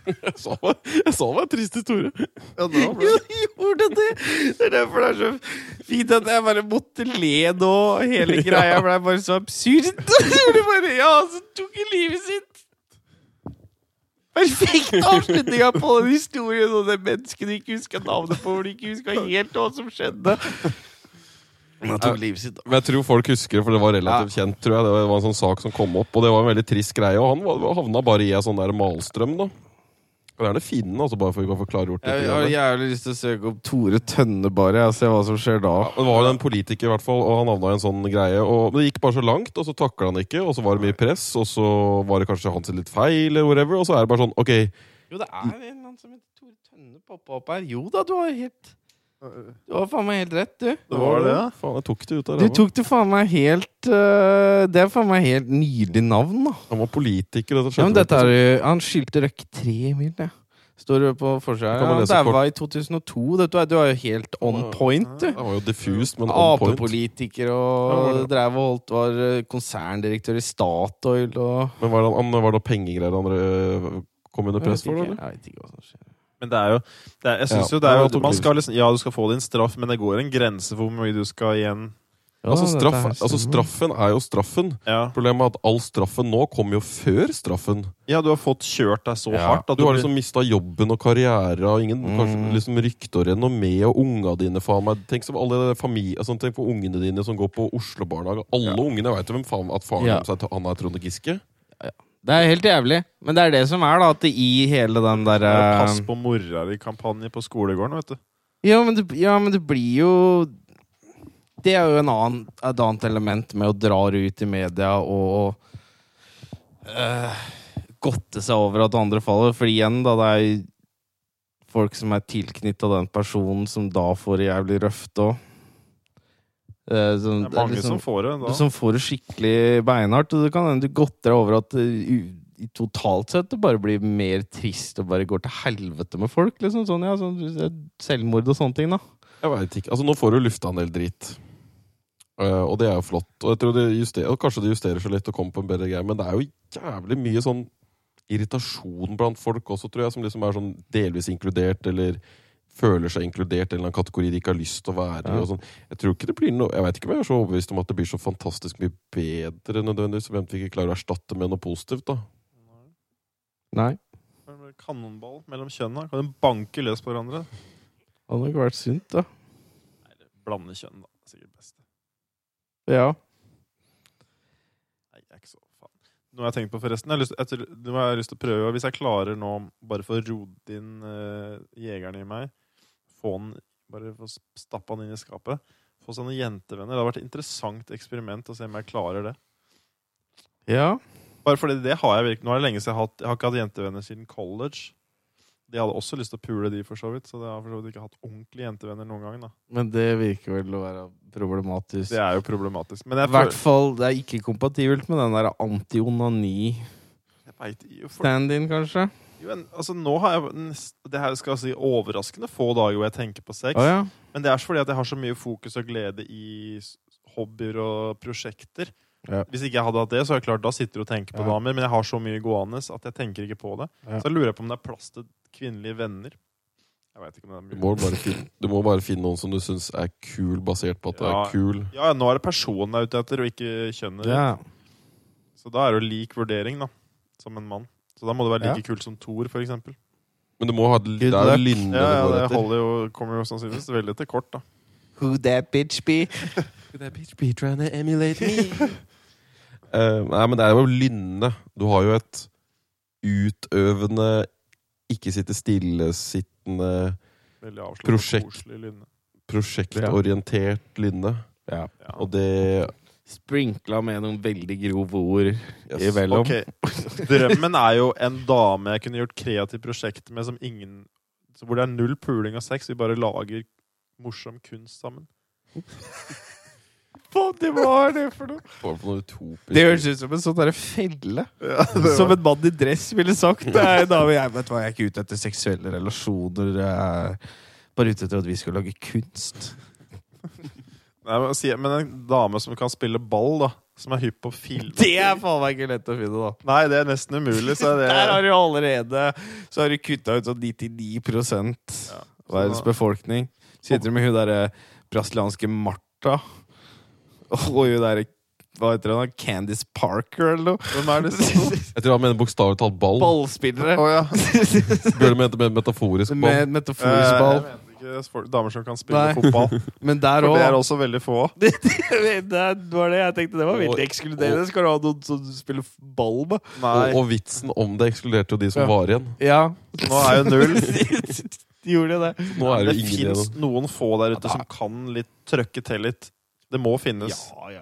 E: Jeg sa det jeg sa det var en trist historie.
C: Ja, da ble
D: Jo,
C: det.
D: gjorde det! Det er derfor det er så fint at jeg bare måtte le nå. Hele greia ble bare så absurd. Det ble bare, ja, så tok han livet sitt. Perfekt avslutninga på den historien og det mennesket du ikke husker navnet på, hvor du ikke husker helt hva som skjedde. Men han tok livet sitt, da.
E: Men jeg tror folk husker det, for det var relativt kjent. tror jeg Det var en sånn sak som kom opp, og det var en veldig trist greie. Og han var- havna bare i en sånn der malstrøm, da. Og gjerne finnen, altså, bare for, bare for å klargjort det.
D: jævlig lyst til å søke opp Tore Tønne, bare. Og se hva som skjer da.
E: Det var jo en politiker, i hvert fall, og han havna i en sånn greie. Og men det gikk bare så langt, og så takla han ikke, og så var det mye press, og så var det kanskje hans litt feil, eller whatever, og så er det bare sånn, ok
D: Jo, det er en eller annen som heter Tore Tønne poppa opp her. Jo da, du har helt Du har faen meg helt rett, du.
C: Det var det, ja.
E: Faen, jeg tok det ut av
D: Du
E: ræva.
D: tok det faen meg helt øh, Det er faen meg helt nydelig navn, da.
E: Han var politiker,
D: Ja,
E: og så
D: men
E: skjønte
D: dette
E: jeg
D: er
E: ikke.
D: jo Han skilte røkke tre mil, det. Står det på forsida
E: Kan
D: her.
E: man
D: Han
E: lese
D: daua i 2002. Vet du, hva, du er jo helt on point, du.
E: Han var jo diffust, men on point.
D: Apepolitiker
E: Ja,
D: og
E: det
D: drev og holdt var øh, konserndirektør i Statoil og
E: Men var det, han, var det noe pengegreier han øh, kom under press for,
D: Jeg vet
E: eller?
D: ikke, jeg vet ikke hva som skjer.
C: Men det er jo, det er, jeg synes
E: Ja,
C: jo det er
E: det
C: jo
E: var
C: at man
E: totalt
C: skal liksom, Ja, du skal få din straff, men det går en grense for hvor mye du skal igjen.
E: Altså,
D: Ja,
E: straff,
D: dette her
E: altså,
D: stemmer.
E: straffen er jo straffen.
C: Ja,
E: Problemet er at all straffen nå kommer jo før straffen.
C: ja du har fått kjørt deg så hardt at
E: Du har
C: blir-
E: liksom mista jobben og karriere og ingen
D: Mm.
E: kanskje liksom rykte og renommé og unga dine, faen meg. Tenk, som alle familie, altså, tenk på ungene dine som går på Oslo barnehage. Alle ungene veit jo hvem faen at faren
D: Ja.
E: deres er han er Trond Giske.
D: Det er helt jævlig. Men det er det som er, da. At det i hele den eh, derre
C: Ja, Pass på mora di-kampanje på skolegården, vet du.
D: Ja, men det, ja, men det blir jo Det er jo en annen, et annet element med å dra det ut i media og øh, godte seg over at andre faller. For igjen, da, det er jo folk som er tilknytta den personen, som da får det jævlig røft òg. Eh, sånn-
C: Det er mange
D: liksom-
C: som får det da.
D: som får det skikkelig beinhardt. Og det kan hende du godter deg over at eh, u- i totalt sett det bare blir mer trist og bare går til helvete med folk. liksom sånn, ja, sånn, Selvmord og sånne ting, da.
E: Jeg vet ikke. Altså, nå får du lufta en del dritt. Eh, og det er jo flott. Og, jeg tror det justerer, og kanskje det justerer seg litt og kommer på en bedre greie, men det er jo jævlig mye sånn irritasjon blant folk også, tror jeg, som liksom er sånn delvis inkludert, eller føler seg inkludert i en eller annen kategori de ikke har lyst til å være i.
D: Ja.
E: og sånn. Jeg tror ikke det blir noe, jeg vet ikke om jeg er så overbevist om at det blir så fantastisk mye bedre nødvendigvis, om vi ikke klarer å erstatte med noe positivt. da.
D: Nei.
C: Kanonball mellom kjønna. Kan de banke løs på hverandre?
D: Det hadde nok vært sunt, da.
C: Eller blande kjønn, da. Det er Sikkert best.
D: Ja.
C: Nei, jeg er ikke så faen. Noe jeg har tenkt på forresten jeg har lyst, jeg, tror- Nå har jeg lyst til å prøve, hvis jeg klarer nå bare få rodd inn eh, jegeren i meg Få den, bare få stappa den inn i skapet Få seg noen jentevenner. Det hadde vært et interessant eksperiment å se om jeg klarer det.
D: ja.
C: Bare fordi det har jeg virkelig Nå er det lenge siden jeg har hatt Jeg har ikke hatt jentevenner siden college. De hadde også lyst til å pule de, for så vidt. Så jeg har for så vidt ikke hatt ordentlige jentevenner noen gang. da
D: Men det virker vel å være problematisk.
C: Det er jo problematisk. Men
D: I
C: jeg,
D: hvert
C: føl-
D: fall, det er ikke kompatibelt med den der anti-onani-stand-in,
C: jeg vet jo for
D: kanskje.
C: jo, en- altså, Nå har jeg nest- Det her skal jeg si overraskende få dager hvor jeg tenker på sex.
D: Å ja.
C: Men det er så fordi at jeg har så mye fokus og glede i s- hobbyer og prosjekter.
D: Ja.
C: Hvis ikke jeg hadde hatt det, så er det klart da sitter du og tenker på
D: Ja.
C: damer. Men jeg har så mye gående at jeg tenker ikke på det.
D: Ja.
C: Så jeg lurer på om det er plass til kvinnelige venner. Jeg vet ikke om
E: Du
C: det er
E: må
C: mulig.
E: bare finne, du må bare finne noen som du syns er kul, basert på at det
C: Ja.
E: er kul.
C: Ja, ja, nå er det personen jeg er ute etter, og ikke kjønnet.
D: ja.
C: Så da er det jo lik vurdering, da. Som en mann. Så da må du være like
D: Ja.
C: kul som Thor, for eksempel.
E: Men du må ha det
D: Good
E: er
D: luck.
E: linje
C: Ja, ja,
E: du går
C: det
E: etter.
C: holder jo, kommer jo sannsynligvis veldig til kort, da.
D: Who that bitch be?
E: Eh, nei, men det er jo lynne. Du har jo et utøvende, ikke sitte stillesittende,
C: Veldig avslappet,
E: Prosjekt.
C: koselig lynne.
E: prosjektorientert lynne.
D: Ja.
C: Ja.
E: Og det
D: Sprinkla med noen veldig grove ord
E: yes.
D: imellom.
C: Ok, Drømmen er jo en dame jeg kunne gjort kreativt prosjekt med som ingen så Hvor det er null puling og sex. Vi bare lager morsom kunst sammen.
D: Hva det var det for noe?
E: Får på noe utopisk.
D: Det høres ut som en sånn derre felle.
C: Som
D: Som en mann i dress ville sagt. Nei, da, men jeg vet hva, jeg er ikke ute etter seksuelle relasjoner. Jeg er bare ute etter at vi skal lage kunst.
C: en- Nei, men, si- men en dame som kan spille ball, da. Som er hypp på film.
D: Det er faen meg ikke lett å finne, da.
C: Nei, det er nesten umulig. Så det
D: Der har du allerede Så har du kutta ut sånn 99
C: Ja.
D: av verdens befolkning. Sitter du med hun derre brasilianske Martha og hun derre hva heter hun? da? Candice Parker, eller noe?
C: Hvem er det som
E: Jeg tror han mener bokstavelig talt ball.
D: Ballspillere!
C: Å, ja.
E: Bjørn mente med metaforisk ball.
D: Med metaforisk
C: Eh, Jeg mente
D: ball.
C: ikke for- damer som kan spille
D: Nei.
C: fotball.
D: Men der
C: For det er
D: òg
C: også veldig få.
D: det, det, det var det jeg tenkte. Det var veldig
E: Og-
D: ekskluderende. Skal du ha noen som du spiller ball med?
E: Og,
C: Nei,
E: og vitsen om det ekskluderte jo de som
D: Ja.
E: var igjen.
D: Ja.
C: nå er jo null.
D: De gjorde det.
E: Nå er det
C: Det
E: jo ingen
C: fins
E: igjen.
C: noen få der ute som kan litt trøkke til litt. Det må finnes.
D: ja, ja.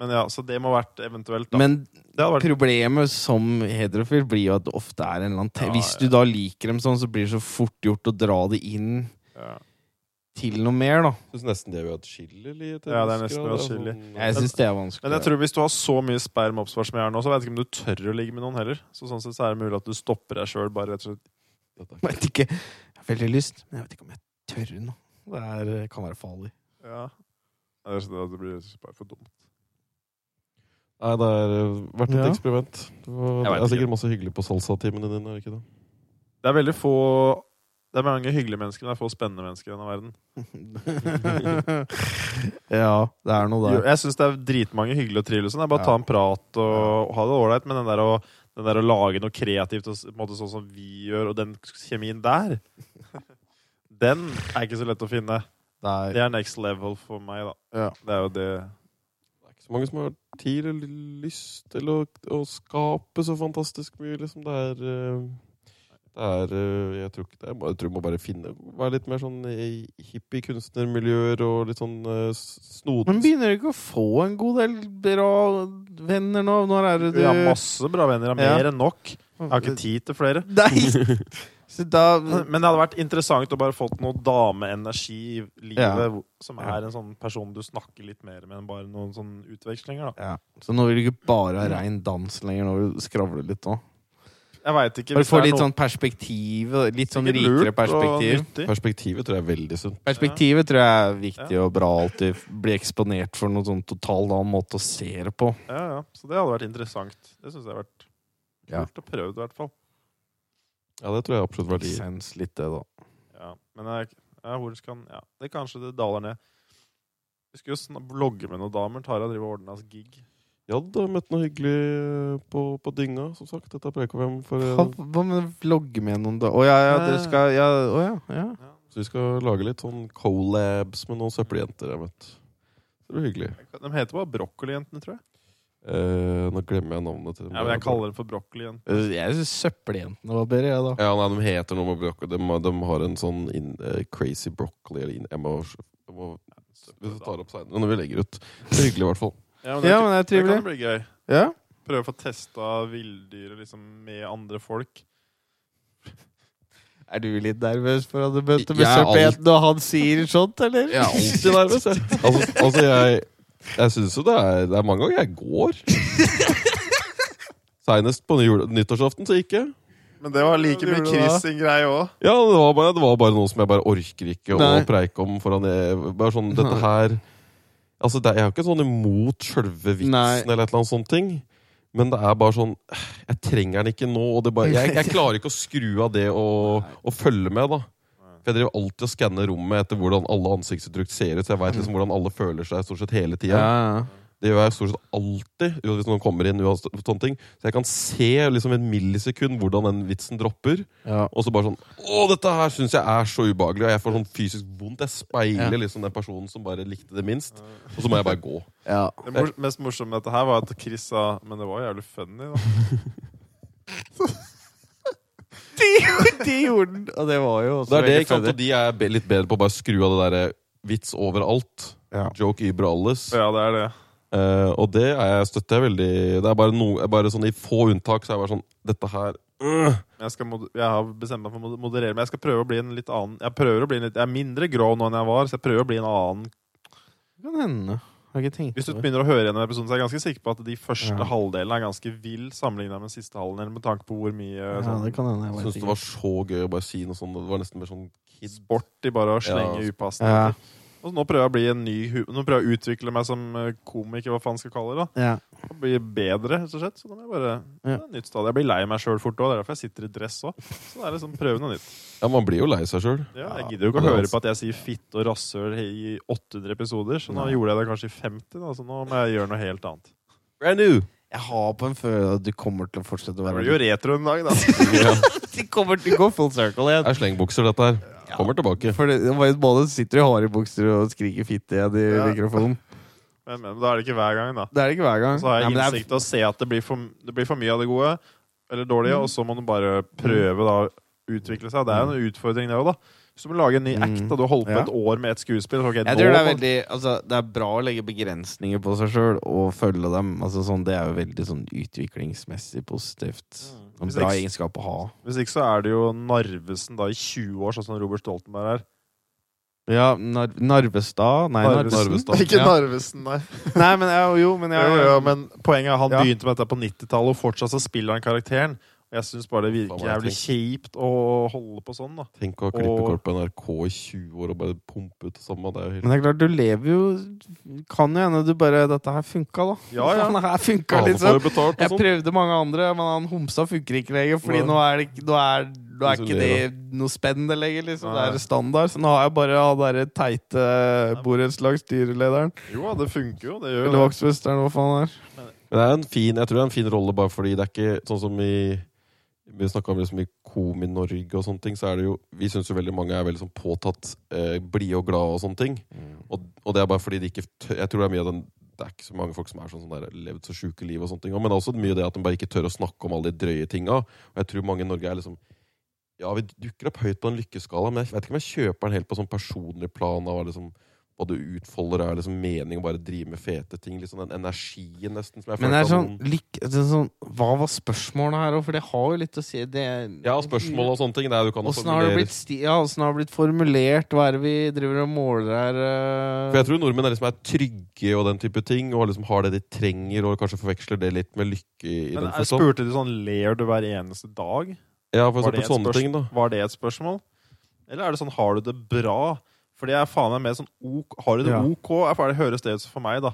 C: Men ja, Så det må vært eventuelt, da.
D: Men
C: det hadde vært
D: problemet som heterofil blir jo at det ofte er en eller annen te
C: Ja,
D: Hvis
C: ja.
D: du da liker dem sånn, så blir det så fort gjort å dra det inn
C: ja.
D: til noe mer, da.
E: Syns nesten de er uatskillelige. i
C: Ja, det er nesten
E: grad,
C: uatskillelig.
E: sånn-
D: Jeg syns det er vanskelig. altså.
C: Men jeg tror hvis du har så mye sperm oppspart som jeg har nå, så vet jeg ikke om du tør å ligge med noen heller. Så sånn sett så er det mulig at du stopper deg sjøl, bare rett og slett.
E: Dette er
D: Jeg vet ikke. Jeg har veldig lyst, men jeg vet ikke om jeg tør nå. Det er, kan være farlig.
C: Ja. Eller så Det blir bare for dumt.
E: Nei, det har vært et
D: Ja.
E: eksperiment. Det, var,
C: Jeg
E: det
C: vet
E: er
C: ikke.
E: sikkert masse hyggelig på salsatimene dine. er det ikke det?
C: Det er veldig få Det er mange hyggelige mennesker, men det er få spennende mennesker i denne verden.
D: ja, det er noe
C: Jo,
D: der.
C: Jeg syns det er dritmange hyggelige og trivelige. Sånn. Det er bare å
D: Ja.
C: ta en prat og, og ha det ålreit, men den der, å, den der å lage noe kreativt og, s- på en måte sånn som vi gjør, og den kjemien der Den er ikke så lett å finne.
D: Det
C: Det er next level for meg, da.
D: Ja.
C: Det er jo det
E: Det er ikke så mange som har tid eller lyst til å, å skape så fantastisk mye. liksom. Det er, eh, det er eh, Jeg tror ikke det. Jeg tror vi må bare finne Være litt mer sånn eh, hippie kunstnermiljøer og litt sånn eh, s- snodig.
D: Men begynner du ikke å få en god del bra venner nå? Når er det du
C: Vi har masse bra venner. Jeg har
D: Ja.
C: mer enn nok. Jeg har ikke tid til flere.
D: Nei! Så da
C: Men det hadde vært interessant å bare fått noe dameenergi i livet,
D: Ja.
C: hvor- som
D: Ja.
C: er en sånn person du snakker litt mer med enn bare noen sånne utvekslinger. da.
D: ja. Så nå vil du ikke bare ha rein dans lenger, nå vil du skravle litt òg.
C: Jeg vet ikke
D: Bare
C: hvis
D: få
C: det er
D: litt
C: noe
D: sånn perspektiv, litt sånn
C: sikkert lurt
D: rikere
C: og
D: perspektiv.
C: nyttig.
E: Perspektivet tror jeg er veldig sunt.
D: Perspektivet tror jeg er viktig og bra alltid. Bli eksponert for noen sånn totalt annen måte å se det på.
C: Ja, ja. Så det hadde vært interessant. Det syns jeg hadde vært
D: Ja.
C: kult å prøve, i hvert fall.
E: Ja, det tror jeg absolutt
D: Make
E: verdi.
D: sense litt, det, da.
C: Ja, men jeg, ja, hvor skal han Ja, det er kanskje det daler ned. Vi skulle jo sn- blogge med noen damer. Tara driver og ordner oss gig.
E: Ja, da møtte noe hyggelig eh, på, på dynga, som sagt. Dette er PKVM for eh,
D: Hva, hva med å vlogge med noen, da? Å ja, ja, dere skal ja, Å ja. ja.
C: Ja.
E: Så vi skal lage litt sånn collabs med noen søppeljenter jeg har møtt. Det blir hyggelig.
C: De heter bare Brokkolijentene, tror jeg.
E: Eh, nå glemmer jeg navnet til dem.
C: Ja, men jeg kaller dem for Brokkolijentene.
D: Jeg syns søppeljentene var bedre, jeg, da.
E: Ja, nei, de heter noe med broccoli. De, de har en sånn in, eh, crazy broccoli eller in, jeg må, jeg må, Vi tar opp senere når vi legger ut. Det er hyggelig, i hvert fall.
C: Ja, men det,
D: Ja,
C: er
D: men det er
C: ikke- det kan
D: trivelig.
C: bli gøy.
D: Ja.
C: Prøve å få testa villdyret liksom, med andre folk.
D: Er du litt nervøs for at du møter
E: Jeg
D: med
E: er alt-
D: søppelhjenten, og han sier sånt, eller?
E: Jeg er alltid nervøs, jeg. Altså, altså jeg, jeg syns jo det er, det er mange ganger jeg går. Seinest på jul- nyttårsaften så gikk jeg.
C: Men det var
D: like mye Chris
C: sin greie òg.
E: Ja, det var, bare, det var bare noe som jeg bare orker ikke å
D: Nei.
E: preike om foran jeg- Bare sånn, dette her Altså, det, jeg er jo ikke sånn imot sjølve vitsen
D: Nei.
E: eller et eller annet sånt ting. Men det er bare sånn Jeg trenger den ikke nå. Og det bare, jeg, jeg klarer ikke å skru av det og, og følge med, da. For jeg driver alltid og skanner rommet etter hvordan alle ansiktsuttrykk ser ut. Så jeg vet liksom hvordan alle føler seg stort sett hele tida.
D: ja.
E: Det gjør jeg stort sett alltid jo, hvis noen kommer inn. uansett sånne ting Så jeg kan se liksom en millisekund hvordan den vitsen dropper.
D: ja.
E: Og så bare sånn Å, dette her syns jeg er så ubehagelig, og jeg får sånn fysisk vondt. Jeg speiler
D: Ja.
E: liksom den personen som bare likte det minst. Og så må jeg bare gå.
D: ja.
C: Det mor mest morsomme med dette her var at Chris sa Men det var jævlig funny, da.
D: De gjorde den, og det var jo også
E: Det er det,
D: veldig
E: ikke sant?
D: funny.
E: Og de er be- litt bedre på å bare skru av det derre vits overalt.
D: Ja.
E: Joke über alles.
C: Ja, det er det.
E: Eh, og det er jeg støtter jeg veldig. Det er bare, no, bare sånn i få unntak så er jeg bare sånn Dette her øh,
C: Men Jeg, skal mod jeg har bestemt meg for å mod- moderere, men jeg skal prøve å bli en litt annen Jeg prøver å bli en litt Jeg er mindre grov nå enn jeg var, så jeg prøver å bli en annen
D: Det kan hende. Har ikke tenkt
C: Hvis du
D: over det.
C: begynner å høre gjennom episoden, så er jeg ganske sikker på at de første
D: Ja.
C: halvdelene er ganske vill sammenligna med den siste halvdelen, med tanke på hvor mye
D: Ja,
C: sånn,
D: det kan hende. Jeg vet
E: Syns det
D: ikke.
E: var så gøy å bare si noe sånn Det var nesten mer sånn kid.
C: sport i bare å slenge
E: Ja.
C: upassende.
D: Ja,
C: Og så nå prøver jeg å bli en ny hu Nå prøver jeg å utvikle meg som eh, komiker, hva faen skal jeg kalle det.
D: ja.
C: da Og Bli bedre, rett og slett. Så da må jeg bare
D: Ja.
C: det er et nytt stadie. Jeg blir lei meg sjøl fort òg, det er derfor jeg sitter i dress òg. Så det er liksom prøve noe nytt.
E: Ja, man blir jo lei seg sjøl.
C: Ja, jeg gidder jo ikke å
E: Ja, det er
C: høre
D: altså.
C: på at jeg sier fitt og rasshøl i 800 episoder, så nå
D: Nei.
C: gjorde jeg det kanskje i 50, da, så nå må jeg gjøre noe helt annet.
E: Brand new!
D: Jeg har på en følelse at du kommer til å fortsette å
C: Det
D: være
C: blir jo retro en dag, da.
E: Ja,
D: De kommer til å gå full circle
E: det
D: igjen.
E: er slengbukser, dette her. Kommer tilbake.
D: For det, både sitter i harebukser og skriker fitte igjen i
C: Ja.
D: mikrofonen.
C: Men, men da er det ikke hver gang, da.
D: Det er det ikke hver gang.
C: Så har jeg
D: Nei, men det er-
C: innsikt til å se at det blir, for, det blir for mye av det gode, eller dårlige,
D: Mm.
C: og så må du bare prøve da å utvikle seg. Det er jo en utfordring, det òg, da. Hvis du må lage en ny act, da. Du har holdt på
D: Mm. Ja.
C: et år med ett skuespill. så ok,
D: jeg
C: nå
D: tror det er
C: må-
D: veldig altså, Det er bra å legge begrensninger på seg sjøl og følge dem. Altså, sånn, det er jo veldig sånn utviklingsmessig positivt. En
C: Mm. Hvis
D: bra
C: eks-
D: egenskap å ha.
C: Hvis ikke så er det jo Narvesen da i 20 år, sånn som Robert Stoltenberg er.
D: Ja, Nar Narvestad Nei,
C: Narvesen.
D: Narvestad.
C: Ikke
D: Ja.
C: Narvesen, nei.
D: Nei, men ja, jo, men jeg,
C: Jo, jo, men poenget er han
D: Ja.
C: begynte med dette på 90-tallet, og fortsatt så spiller han karakteren. Og jeg syns bare det virker
E: Faen, jeg
C: jævlig kjipt å holde på sånn, da.
E: Tenk å ha klippekort på NRK i 20 år og bare pumpe ut det samme. Det er jo helt
D: Men det er klart, du lever jo Kan jo hende du bare Dette her funka, da.
C: Ja, ja.
D: Dette her funka,
E: Alle får
D: liksom.
E: jo betalt
D: Jeg
E: og sånn.
D: prøvde mange andre, men han homsa funker ikke lenger. Fordi
E: Nei.
D: nå er, det, ikke- nå er, nå er ikke
E: Isolerer.
D: det noe spennende lenger. Liksom. Det
C: Nei.
D: er standard. Så nå har jeg bare han derre teite eh, borettslagsstyrelederen.
C: Jo da, det funker jo. Det gjør jo
D: Eller
C: det.
D: vaktmesteren, hva faen det er.
E: Men det er en fin, jeg tror det er en fin rolle, bare fordi det er ikke sånn som i vi snakka om liksom i Komi-Norge og sånne ting. så er det jo, Vi syns jo veldig mange er veldig sånn påtatt eh, blide og glade og sånne ting.
D: Mm.
E: Og, og det er bare fordi de ikke tør Jeg tror det er mye av den Det er ikke så mange folk som er sånn, sånn der, levd så sjuke liv og sånne ting. Men det er også mye det at de bare ikke tør å snakke om alle de drøye tinga. Og jeg tror mange i Norge er liksom Ja, vi dukker opp høyt på en lykkeskala, men jeg vet ikke om jeg kjøper den helt på sånn personlig plan. av liksom hva du utfolder er liksom mening å bare drive med fete ting. Litt sånn den energien nesten som jeg
D: Men det er
E: følte at
D: sånn,
E: noen-
D: lik, det er sånn Hva var spørsmålet her òg? For det har jo litt å si. Det,
E: Ja, spørsmål og sånn sånne ting. Det er, du kan
D: Åssen har det
E: formulere-
D: blitt, sti ja, hvordan har det blitt formulert? Hva er det vi driver og måler her? eh?
E: For jeg tror nordmenn er, liksom, er trygge og den type ting, og liksom har det de trenger, og kanskje forveksler det litt med lykke. i
C: Men
E: den
C: jeg
E: forstand.
C: spurte de sånn Ler du hver eneste dag?
E: Ja, for
C: Var det, et
E: eksempel sånne ting, da.
C: spørsmål? var det et spørsmål? Eller er det sånn Har du det bra? For det er faen meg mer sånn ok, Har du det
D: Ja.
C: ok? Er for- Det høres det ut som for meg, da.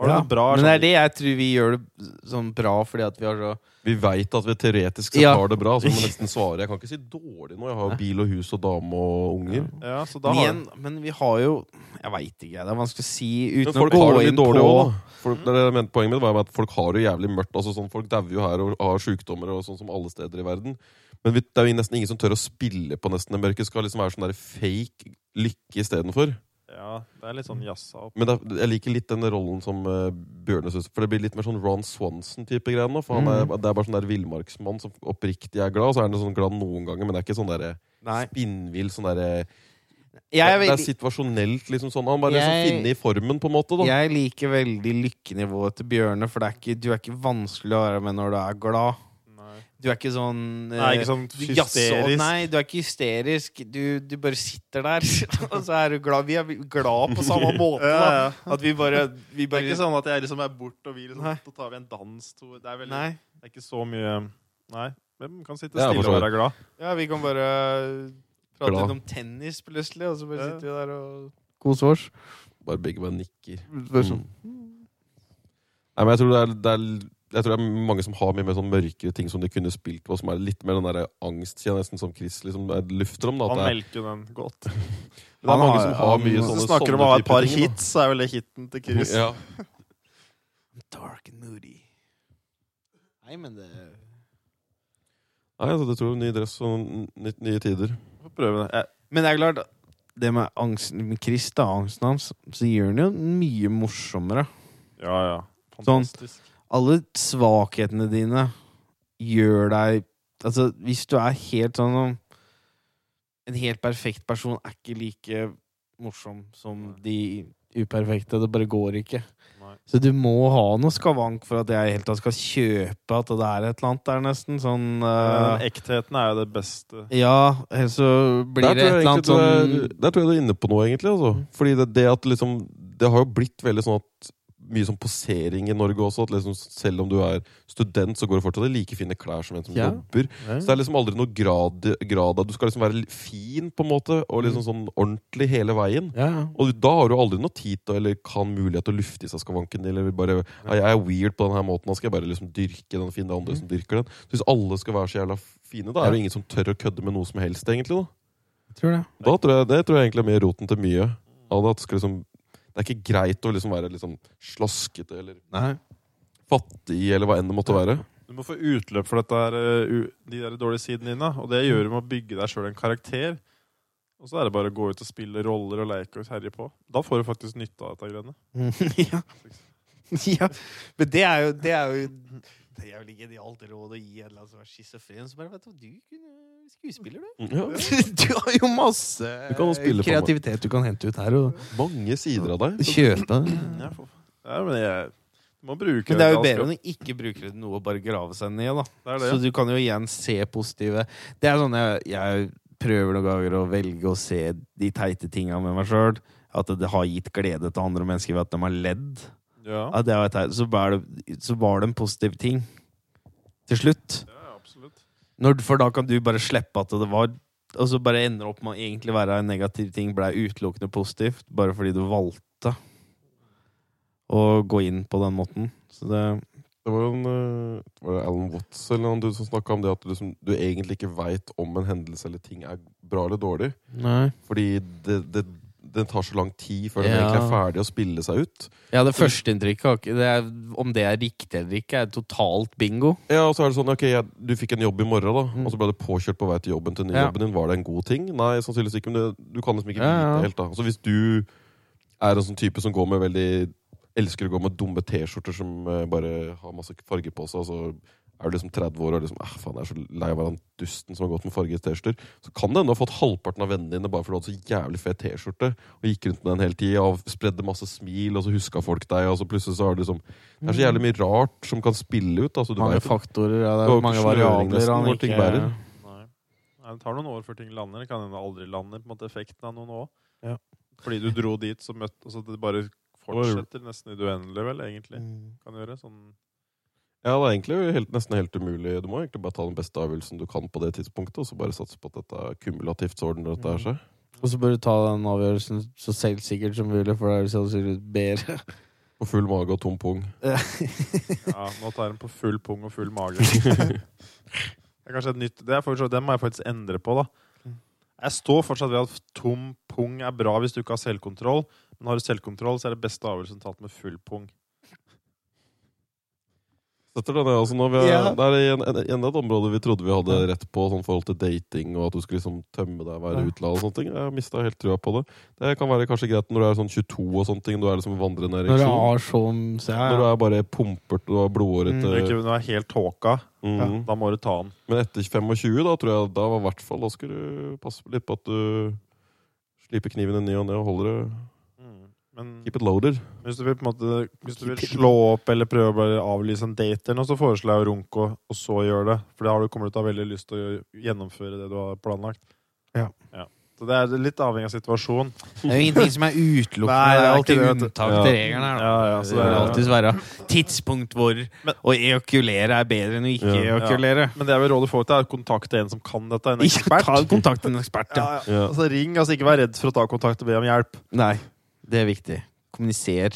C: Har du
D: Ja,
C: det bra?
D: Men det
C: sånn-
D: er det jeg tror vi gjør det sånn bra fordi at vi har så
E: Vi veit at vi teoretisk sett
D: Ja.
E: har det bra, så må jeg nesten svare. Jeg kan ikke si dårlig nå. Jeg har jo bil og hus og dame og unger.
C: sånn- Ja, så da
D: men,
C: har
D: igjen, men vi har jo Jeg veit ikke, det er vanskelig å si
E: Men
D: uten å
E: folk
D: gå
E: har det
D: inn
E: litt dårlig
D: på
E: òg, da. Folk- det er det jeg mente, Poenget mitt var jo at folk har det jo jævlig mørkt. Altså, sånn, folk dauer jo her og har sjukdommer og sånn som alle steder i verden. Men vi, det er jo nesten ingen som tør å spille på nesten det mørke. Skal liksom være sånn der fake lykke istedenfor.
C: Ja, det er litt sånn jazza opp.
E: Men det, er- jeg liker litt den rollen som uh, Bjørnes For det blir litt mer sånn Ron Swanson-type greier nå. For han er, Det er bare sånn der villmarksmann som oppriktig er glad, og så er han sånn glad noen ganger, men det er ikke sånn derre
D: Nei.
E: spinnvill sånn derre det,
D: Jeg, er
E: det er
D: veldig,
E: situasjonelt, liksom sånn. Han bare liksom
D: Jeg-
E: finner i formen, på en måte, da.
D: jeg liker veldig lykkenivået til Bjørne, for det er ikke, du er ikke vanskelig å være med når du er glad.
C: Nei.
D: Du er ikke sånn eh,
C: Nei, ikke sånn
D: du jazzer-
C: hysterisk.
D: Nei, du er ikke hysterisk. Du, du bare sitter der, og så er du glad. Vi er glad på samme måte, da.
C: Ja, ja.
D: At vi bare, vi
C: Det er ikke
D: bare
C: sånn at jeg liksom er bort og vi liksom,
D: Nei.
C: så tar vi en dans. To. Det, er veldig,
D: Nei.
C: det er ikke så mye Nei. Hvem kan sitte
E: Ja, for
C: stille
E: så
C: og
E: vidt.
C: være glad?
D: Ja, vi kan bare prate
E: Glad.
D: litt om tennis plutselig, og så bare
C: Ja.
D: sitter vi der og koser oss.
E: Bare begge bare nikker.
D: Mm.
E: Mm. Nei, men jeg tror det er, det er jeg tror det er mange som har mye mer sånn mørkere ting som de kunne spilt på, som er litt mer den der angst, sier jeg nesten, som Chris liksom er- lufter om. da at
C: Han
E: det er-
C: melker jo den godt.
E: Det er mange som har
D: han-
E: mye
D: Hvis
C: Hvis
E: sånne
C: du snakker om å
E: sånne
C: ha et
E: type
C: par
E: ting, da.
C: hits, så er vel det hiten til Chris.
E: Ja.
D: Dark and moody. Nei, men det
E: Nei, altså, det tror jeg ny dress og n- nytt- nye tider.
C: Får prøve det. Jeg,
D: Men det er klart, det med angsten med Chris, da, angsten hans, så gjør den jo mye morsommere.
C: ja, ja.
D: Sånn.
C: Fantastisk. Eh,
D: Alle svakhetene dine gjør deg Altså, hvis du er helt sånn som En helt perfekt person er ikke like morsom som de uperfekte. Det bare går ikke.
C: Nei.
D: Så du må ha noe skavank for at jeg i det hele tatt skal kjøpe at det er et eller annet der, nesten. Sånn eh,
C: Men ektheten er jo det beste.
D: Ja, ellers så blir
E: Der
D: det et
E: tror, jeg
D: eller annet
E: egentlig
D: sånn Mm.
E: du er, der tror jeg du er inne på noe, egentlig. Altså. Fordi det, det at liksom Det har jo blitt veldig sånn at mye sånn posering i Norge også. At liksom, selv om du er student, så går det fortsatt i like fine klær som en som
D: Ja.
E: jobber. Så det er liksom aldri noe grad, grad av Du skal liksom være li- fin, på en måte, og
D: Mm.
E: liksom sånn ordentlig hele veien.
D: ja, ja.
E: Og da har du aldri noe tid til eller kan mulighet til å lufte i seg skavanken. Eller bare, «Ah, jeg er weird på denne måten, da skal jeg bare liksom dyrke den fine. Det er
D: Mm.
E: andre som dyrker den. Så hvis alle skal være så jævla fine, da er det jo ingen som tør å kødde med noe som helst, egentlig. Da,
D: Tror det.
E: da tror jeg, det tror jeg egentlig er mer roten til mye. Av det, at det, skal liksom, det er ikke greit å liksom være liksom slaskete eller
D: Nei.
E: fattig eller hva enn det måtte være.
C: Du må få utløp for dette her, eh, u- de der dårlige sidene dine. Og det gjør du med å bygge deg sjøl en karakter. Og så er det bare å gå ut og spille roller og leke og herje på. Da får du faktisk nytte av dette greiene.
D: Mm. ja. ja. Men det er jo Det er jo det er vel ikke genialt råd å gi en eller annen som er schizofren. Som bare vet du, hva, du kunne skuespiller, du.
E: Ja.
D: Du har jo masse
E: Du kan jo spille på meg.
D: kreativitet du kan hente ut her. Og
E: Mange sider av deg.
D: kjøpe.
C: Ja, for- ja, men jeg, du må bruke
D: Mm. Men det er jo
C: galskap.
D: bedre enn å ikke bruke det til noe og bare grave seg ned, da.
C: Det er det.
D: Så du kan jo igjen se positive Det er sånn jeg, jeg prøver noen ganger å velge å se de teite tinga med meg sjøl. At det har gitt glede til andre mennesker ved at de har ledd.
C: Ja.
D: At det var teit, så, var det, så var det en positiv ting til slutt.
C: ja, absolutt.
D: Når, for da kan du bare slippe at det var Og så bare ender opp med å egentlig være en negativ ting, blei utelukkende positivt, bare fordi du valgte å gå inn på den måten. Så det
E: Det var jo en eh, var det Alan Watts eller noen dude som snakka om det at du, liksom, du egentlig ikke veit om en hendelse eller ting er bra eller dårlig.
D: Nei.
E: Fordi det, det, den tar så lang tid før den
D: Ja.
E: egentlig er ferdig å spille seg ut.
D: Ja, det førsteinntrykket har ikke det er, Om det er riktig eller ikke, er totalt bingo.
E: Ja, og så er det sånn, ok, jeg, Du fikk en jobb i morgen, da
D: Mm.
E: og så ble du påkjørt på vei til jobben. til den nye
D: Ja.
E: jobben din. Var det en god ting? Nei, sannsynligvis ikke. Men du, du kan liksom ikke
D: Ja, ja.
E: vite helt. da. Så hvis du er en sånn type som går med veldig Elsker å gå med dumme T-skjorter som eh, bare har masse farger på seg, og så Er du liksom 30 år og liksom, ah, faen, jeg er så lei av å være han dusten som har gått med fargede T-skjorter, så kan det hende du har fått halvparten av vennene dine bare fordi du hadde så jævlig fet T-skjorte og gikk rundt med den hele tida og spredde masse smil, og så huska folk deg, og så plutselig så har du liksom Det er så
D: Mm.
E: jævlig mye rart som kan spille ut. Altså, du
D: mange
E: vet-
D: faktorer, ja, det
E: Det
D: er
E: var ikke
D: mange
E: sløring
D: variabler
E: nesten,
D: han
E: hvor ting
D: ikke
E: bærer.
C: Nei. Nei, Det tar noen år før ting lander. Det kan hende det aldri lander. på en måte Effekten av noen òg.
D: Ja.
C: Fordi du dro dit, så møtte og så det bare fortsetter nesten i det uendelige, vel, egentlig.
D: Mm.
C: Kan gjøre sånn
E: Ja, det er egentlig helt, nesten helt umulig. Du må egentlig bare ta den beste avgjørelsen du kan på det tidspunktet, og så bare satse på at dette er kumulativt så ordner dette
D: Mm.
E: her seg.
D: Og så bør du ta den avgjørelsen så selvsikkert som mulig, for da er det sannsynligvis bedre.
E: På full mage og tom pung.
C: Ja, nå tar den på full pung og full mage. Det er kanskje et nytt Det, er faktisk, det må jeg faktisk endre på, da. Jeg står fortsatt ved at tom pung er bra hvis du ikke har selvkontroll. Men har du selvkontroll, så er det beste avgjørelsen tatt med full pung.
E: Setter den, ja, altså når vi er,
D: Ja.
E: Det er igjen, igjen et område vi trodde vi hadde rett på, sånn forhold til dating og at du skulle liksom tømme deg, være
D: Ja.
E: utelatt og sånne ting. Jeg mista helt trua på det. Det kan være kanskje greit når du er sånn 22 og sånne ting, du er liksom
D: Når
E: vandrende
D: du
E: ereksjon.
D: har sånn så ja,
E: Når du
D: ja.
E: er bare pumpert og har
C: Når du
E: blodårete
D: Mm.
C: ikke- når du er helt tåka,
E: mm.
C: da må du ta den.
E: Men etter 25, da tror jeg da var i hvert fall Da skulle du passe litt på at du sliper kniven i ny og ne og holder
C: Mm.
E: det
C: Men
E: Keep it loaded.
C: hvis du vil på en måte Hvis du vil slå opp eller prøve å bare avlyse en date, eller noe, så foreslår jeg å runke og, og så gjøre det. For da har du- kommer du til å ha veldig lyst til å gjø- gjennomføre det du har planlagt.
D: Ja.
C: Så det er litt avhengig av situasjonen.
D: Det er jo ingenting som er utelukkende.
C: Nei,
D: det er
C: det er
D: alltid
C: ikke det, vet du.
D: unntak
E: Ja.
D: til regelen her. da.
C: Ja, ja, så
D: det vil
C: det er-
D: alltid være tidspunkt hvor
C: Men-
D: å ejakulere er bedre enn å ikke
E: Ja.
D: ejakulere.
C: Men det jeg vil råde folk til, er å kontakte en som kan dette. En
D: Ikke
C: ekspert.
D: ta kontakt med en ekspert,
C: Ja,
D: ja.
C: ja. Altså, ring. altså Ikke vær redd for å ta kontakt og be om hjelp.
D: Nei, det er viktig. Kommuniser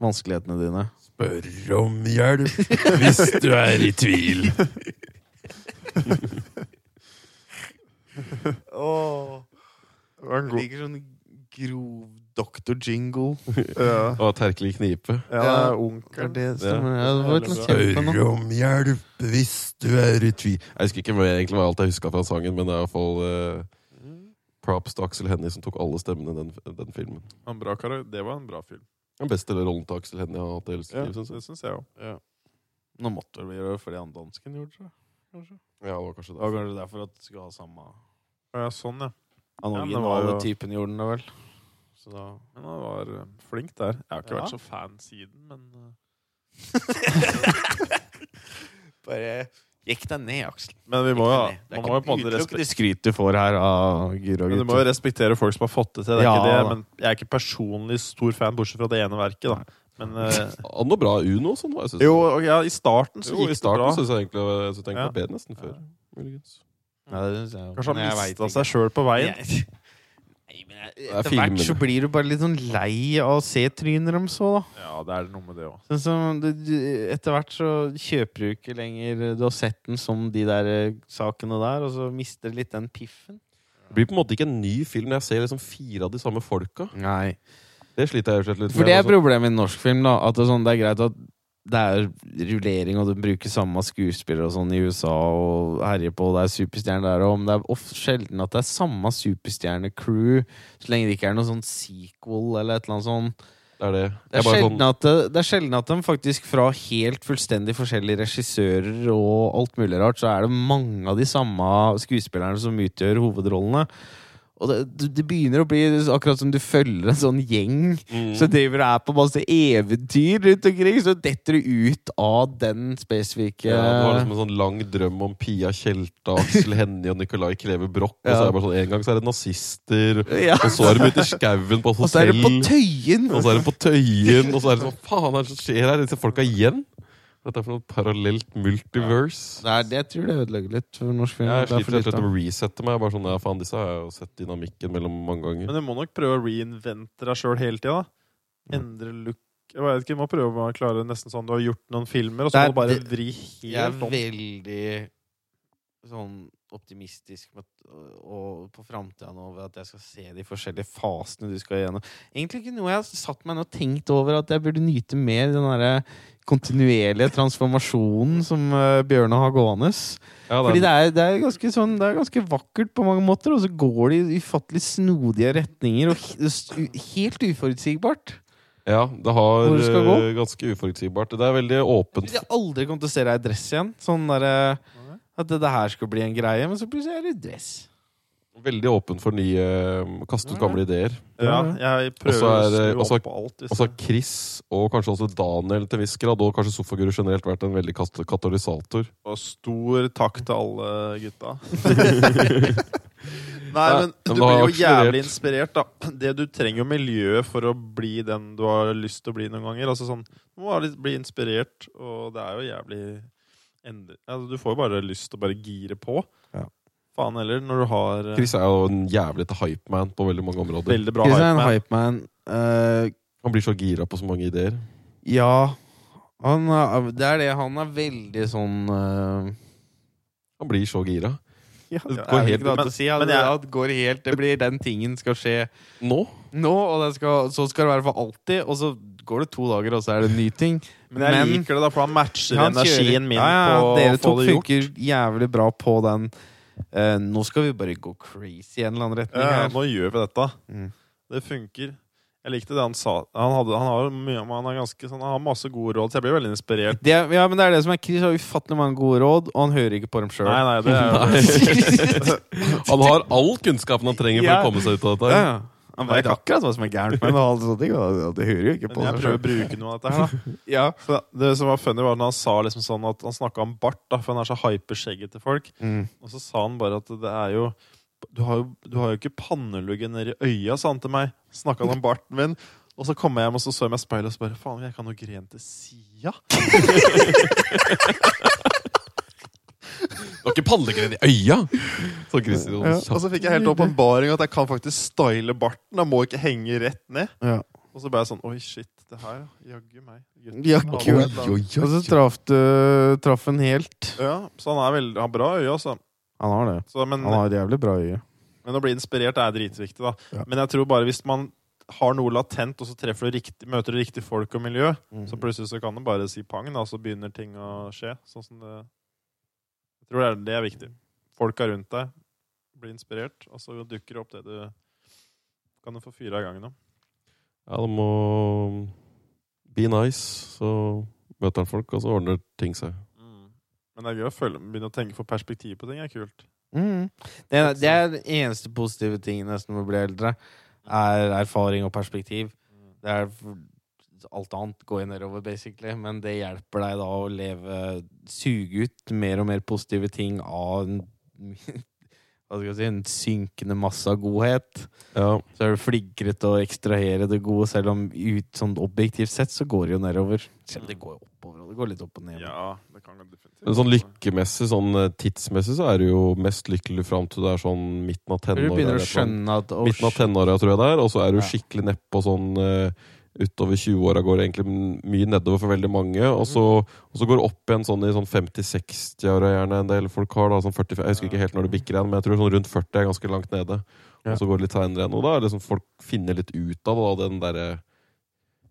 D: vanskelighetene dine.
E: Spør om hjelp hvis du er i tvil.
C: Det var en god-
D: liker sånn grov doktor-jingle.
C: Ja,
E: Og terkelig knipe.
C: ja, det er onkel.
D: Det
E: stemmer.
C: var litt
E: Spør om hjelp hvis du er i tvil. Jeg husker ikke hva jeg egentlig var alt jeg huska fra sangen, men det er iallfall uh, props til Aksel Hennie som tok alle stemmene i den, den filmen.
C: En bra karakter. Det var en bra film.
E: Den beste rollen til Aksel Hennie jeg har hatt i hele sitt
C: Ja,
E: liv, syns jeg.
C: det syns jeg òg.
D: Nå måtte vi gjøre det fordi han dansken gjorde det.
E: Ja, det var kanskje
D: Det
E: det.
D: var kanskje derfor at det skulle ha samme
C: Ja, sånn, ja.
D: Han
C: Ja, men det var
D: originale
C: jo-
D: typen gjorde den det, vel. Så da
C: Men han var eh, flink der. Jeg har ikke
D: Ja.
C: vært så fan siden, men eh,
D: Bare jekk deg ned, Aksel.
C: Men vi må jo man må jo på en måte
D: utelukkende
C: respektere
D: skryt du får her av Guro
C: men du må jo respektere folk som har fått det til. Det er
D: Ja,
C: ikke det,
D: da.
C: men Jeg er ikke personlig stor fan, bortsett fra det ene verket. da. Men eh,
E: Han var bra Uno og sånn, var jeg synes.
C: jo, ok, ja, i starten så
E: Jo,
C: gikk
E: i
C: det bra.
E: starten syns jeg egentlig jeg synes egentlig det var bedre nesten før.
C: Ja.
E: Muligens.
D: Ja, det synes jeg.
C: Kanskje han
D: Men jeg vet
C: mista seg
D: ikke.
C: sjøl på veien.
D: Jeg- Nei, men jeg-
E: er
D: Etter hvert
E: filmene.
D: så blir du bare litt sånn lei av å se trynet deres òg, da.
C: Ja, det er noe med det òg.
D: Sånn som du, du, etter hvert så kjøper du ikke lenger Du har sett den som de der eh, sakene der, og så mister du litt den piffen.
E: Det blir på en måte ikke en ny film når jeg ser liksom fire av de samme folka.
D: Nei.
E: Det sliter jeg rett og slett litt
D: For det er
E: altså.
D: problemet i norsk film, da. At det er, sånn, det er greit at det er rullering, og du bruker samme skuespillere og sånn i USA og herjer på, og det er superstjerner der òg, men det er ofte sjelden at det er samme superstjernecrew, så lenge det ikke er noe sånn sequel eller et eller annet sånn.
E: Det er det.
D: Det
E: Jeg
D: er,
E: bare
D: sjelden
E: sånn,
D: at eh, det, det er sjelden at de faktisk fra helt fullstendig forskjellige regissører og alt mulig rart, så er det mange av de samme skuespillerne som utgjør hovedrollene. Og det, det begynner å bli akkurat som du følger en sånn gjeng
E: mm,
D: så driver du og er på masse eventyr rundt omkring, så detter du ut av den spesifikke
E: ja, det var liksom en sånn lang drøm om Pia Tjelta, Aksel Hennie og Nicolai Kleve Broch. Og så
D: Ja.
E: er det bare sånn, en gang så er det nazister,
D: Ja.
E: og så er de ute i skauen på et
D: Og så er det
E: hotell.
D: på Tøyen!
E: Og så er det på Tøyen, og så er det sånn Faen, hva er det som skjer her? Disse folka igjen? Dette er for noe parallelt multiverse.
D: Det er det jeg tror det ødelegger litt for norsk film.
E: Jeg
D: Det er for
E: sliter rett
D: lite.
E: og slett med å resette meg. Jeg er Bare sånn, ja, faen, disse har jeg jo sett dynamikken mellom mange ganger.
C: Men du må nok prøve å reinvente deg sjøl hele tida. da. Endre look Jeg vet ikke, Du må prøve å klare nesten sånn du har gjort noen filmer, og så
D: Det er
C: må du bare
D: det-
C: vri
D: Jeg er
C: helt om.
D: veldig sånn optimistisk med, at- og på framtida nå ved at jeg skal se de forskjellige fasene du skal gjennom. Egentlig ikke noe jeg har satt meg ned og tenkt over at jeg burde nyte mer den derre kontinuerlige transformasjonen som eh, Bjørnar har gående.
E: Ja,
D: Fordi det er, det, er ganske sånn, det er ganske vakkert på mange måter, og så går det i ufattelig snodige retninger og he- s- u- helt uforutsigbart.
E: Ja, det har
D: Hvor det skal gå?
E: eh, ganske uforutsigbart. Det er veldig åpent.
D: Jeg vil aldri komme til å se deg i dress igjen. Sånn derre At det, det her skulle bli en greie, men så plutselig er du i dress.
E: Veldig åpent for nye eh, Kaste ut gamle ideer.
C: Ja, jeg prøver
E: Og så er
C: å
E: det-
C: skru
E: og så-
C: opp på alt. liksom. hvis
E: Og så har Chris og kanskje også Daniel til viss grad, og kanskje Sofaguru generelt, vært en veldig kat- katalysator.
C: Og stor takk til alle gutta. Nei, men
E: men
C: du
E: da har
C: blir jo
E: jeg akselerert.
C: jævlig inspirert, da. Det Du trenger jo miljøet for å bli den du har lyst til å bli noen ganger. Altså sånn, Du må ha litt- bli inspirert, og det er jo jævlig endre- altså, Du får jo bare lyst til å bare gire på.
D: Ja.
C: Faen heller, når du har eh,
E: Chris er jo en jævlete hypeman på veldig mange områder.
C: veldig bra
D: Chris er en
C: hype.
D: hypeman. Uh,
E: Han blir så gira på så mange ideer.
D: ja han er, Det er det. Han er veldig sånn eh,
E: Han blir så gira.
C: Ja,
E: Det
C: ja,
E: går
C: er
E: helt-
C: ikke noe annet å si.
D: si.
C: men
D: det,
C: jeg-
D: at går helt, det blir den tingen skal skje
E: Nå?
D: nå, og det skal, så skal det være for alltid. Og så går det to dager, og så er det en ny ting.
C: Men jeg
D: Men-
C: liker det, da, for han matcher
D: Han kjører-
C: energien min
D: ja, ja,
C: på
D: Dere
C: å få
D: to
C: det gjort.
D: funker jævlig bra på den. Eh, nå skal vi bare gå crazy i en eller annen retning
C: Ja,
D: her.
C: nå gjør vi dette.
D: Mm.
C: Det funker. Jeg likte det han sa. Han, hadde, han, har, mye, han, har ganske, sånn- han har masse gode råd, så jeg blir veldig inspirert.
D: Det, er- ja, men det er det som er Chris har ufattelig mange gode råd, og han hører ikke på dem sjøl.
C: Nei, nei, det er jo
E: Han har all kunnskapen han trenger for
D: Ja.
E: å komme seg ut av
D: Ja,
E: dette.
D: ja. Han vet akkurat hva som er gærent med ham. Det hører jo ikke
C: Men jeg prøver å bruke noe av dette her, da.
D: Ja.
C: Så det som var funny, var når han sa liksom sånn at han snakka om bart, da, for han er så hyper skjegget til folk. Og så sa han bare at det er jo Du har jo, du har jo ikke panneluggen nedi øya, sa han til meg. Snakka han om barten min. Og så kom jeg hjem og så så jeg meg i speilet og så bare Faen, jeg kan jo gre igjen til sida.
E: Du har ikke panneleggeren i øya! Så Chris sier
D: Ja,
E: sånn
C: Og
E: kjapt.
C: så fikk jeg helt åpenbaring at jeg kan faktisk style barten. Jeg må ikke henge rett ned.
D: Ja.
C: Og så ble jeg sånn Oi, shit. Det her, ja. Jaggu meg. Gutten
D: Ja,
C: har
D: kult.
C: vært der.
D: Og så traff du traff han helt.
C: Ja, så han er veldig, har bra øye, altså.
D: Han har det.
C: Så, men,
D: Han har et jævlig bra øye.
C: men å bli inspirert er dritviktig, da.
D: Ja.
C: Men jeg tror bare hvis man har noe latent, og så treffer du riktig, møter du riktig folk og miljø,
D: Mm.
C: så plutselig så kan det bare si pang, da, og så begynner ting å skje. Sånn som det Jeg tror det er, det er viktig. Folka rundt deg blir inspirert, og så dukker det opp det du kan du få fyra av gangen om.
E: Ja, det må Be nice, så møter han folk, og så ordner ting seg.
C: Mm. Men det er gøy å følge, begynne å tenke på perspektiv på ting. er kult.
D: Mm. Det, er- det er den eneste positive tingen nesten med å bli eldre, er erfaring og perspektiv.
C: Mm.
D: Det er Alt annet går jo nedover, basically, men det hjelper deg da å leve Suge ut mer og mer positive ting av en Hva skal jeg si En synkende masse av godhet.
E: Ja,
D: Så er du flinkere til å ekstrahere det gode, selv om ut, sånn objektivt sett så går det jo nedover. Selv om det går jo oppover, og det går litt opp og ned.
C: Ja, det kan gå definitivt.
E: Men sånn lykkemessig, sånn eh, tidsmessig, så er du jo mest lykkelig fram til du er sånn midten av
D: Når
E: tenåra.
D: du begynner å
E: eller et eller annet.
D: skjønne at oh,
E: Midten av tenåra, tror jeg det er, og så er du
D: Ja.
E: skikkelig nedpå sånn eh, Utover 20-åra går det egentlig m- mye nedover for veldig mange. Og
D: Mm.
E: så, og så går det opp igjen sånn i sånn 50-60-åra gjerne en del folk har. da, sånn 40, Jeg husker ikke helt når det bikker igjen, men jeg tror sånn rundt 40 er ganske langt nede.
D: Ja.
E: Og så går det litt seinere igjen. Og da er det liksom folk finner litt ut av da, den derre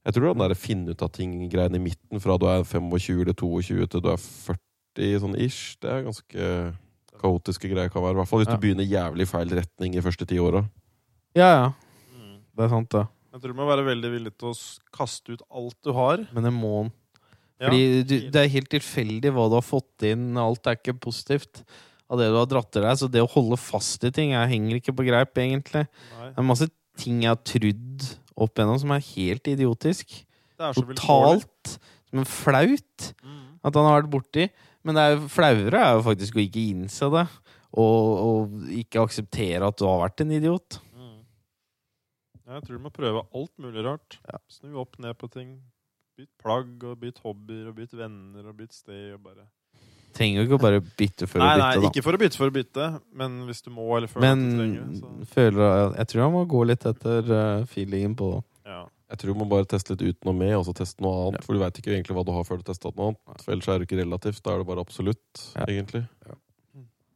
E: Jeg tror den derre finne ut av ting-greien i midten, fra du er 25 eller 22 til du er 40 sånn ish, det er ganske kaotiske greier kan være. I hvert fall hvis
D: Ja.
E: du begynner jævlig i feil retning i første ti åra.
D: Ja, ja.
C: Mm.
D: Det er sant, det.
C: Jeg tror du må være veldig villig til å s- kaste ut alt du har.
D: Men det må den.
C: Ja.
D: Fordi du, det er helt tilfeldig hva du har fått inn. Alt er ikke positivt av det du har dratt til deg. Så det å holde fast i ting Jeg henger ikke på greip, egentlig.
C: Nei.
D: Det er masse ting jeg har trudd opp igjennom som er helt idiotisk.
C: Det er så vilkårlig.
D: Totalt. Men flaut
C: Mm.
D: at han har vært borti. Men det er jo flauere er jo faktisk å ikke innse det. Og, og ikke akseptere at du har vært en idiot.
C: Mm. Ja, Jeg tror du må prøve alt mulig rart.
D: Ja.
C: Snu opp ned på ting. Bytt plagg, og bytt hobbyer, og bytt venner, og bytt sted. Og bare.
D: Trenger jo ikke bare bytte for
C: Nei,
D: å
C: nei,
D: bytte, da.
C: ikke for å bytte for å bytte, men hvis du må eller føler at du trenger
D: Men
C: det. så-
D: føler, jeg tror han må gå litt etter eh, feelingen på
C: Ja.
E: Jeg tror man bare tester litt ut noe med, og så teste noe annet. For du veit ikke egentlig hva du har før du testa noe annet. For ellers er det ikke relativt. Da er det bare absolutt,
D: Ja.
E: egentlig.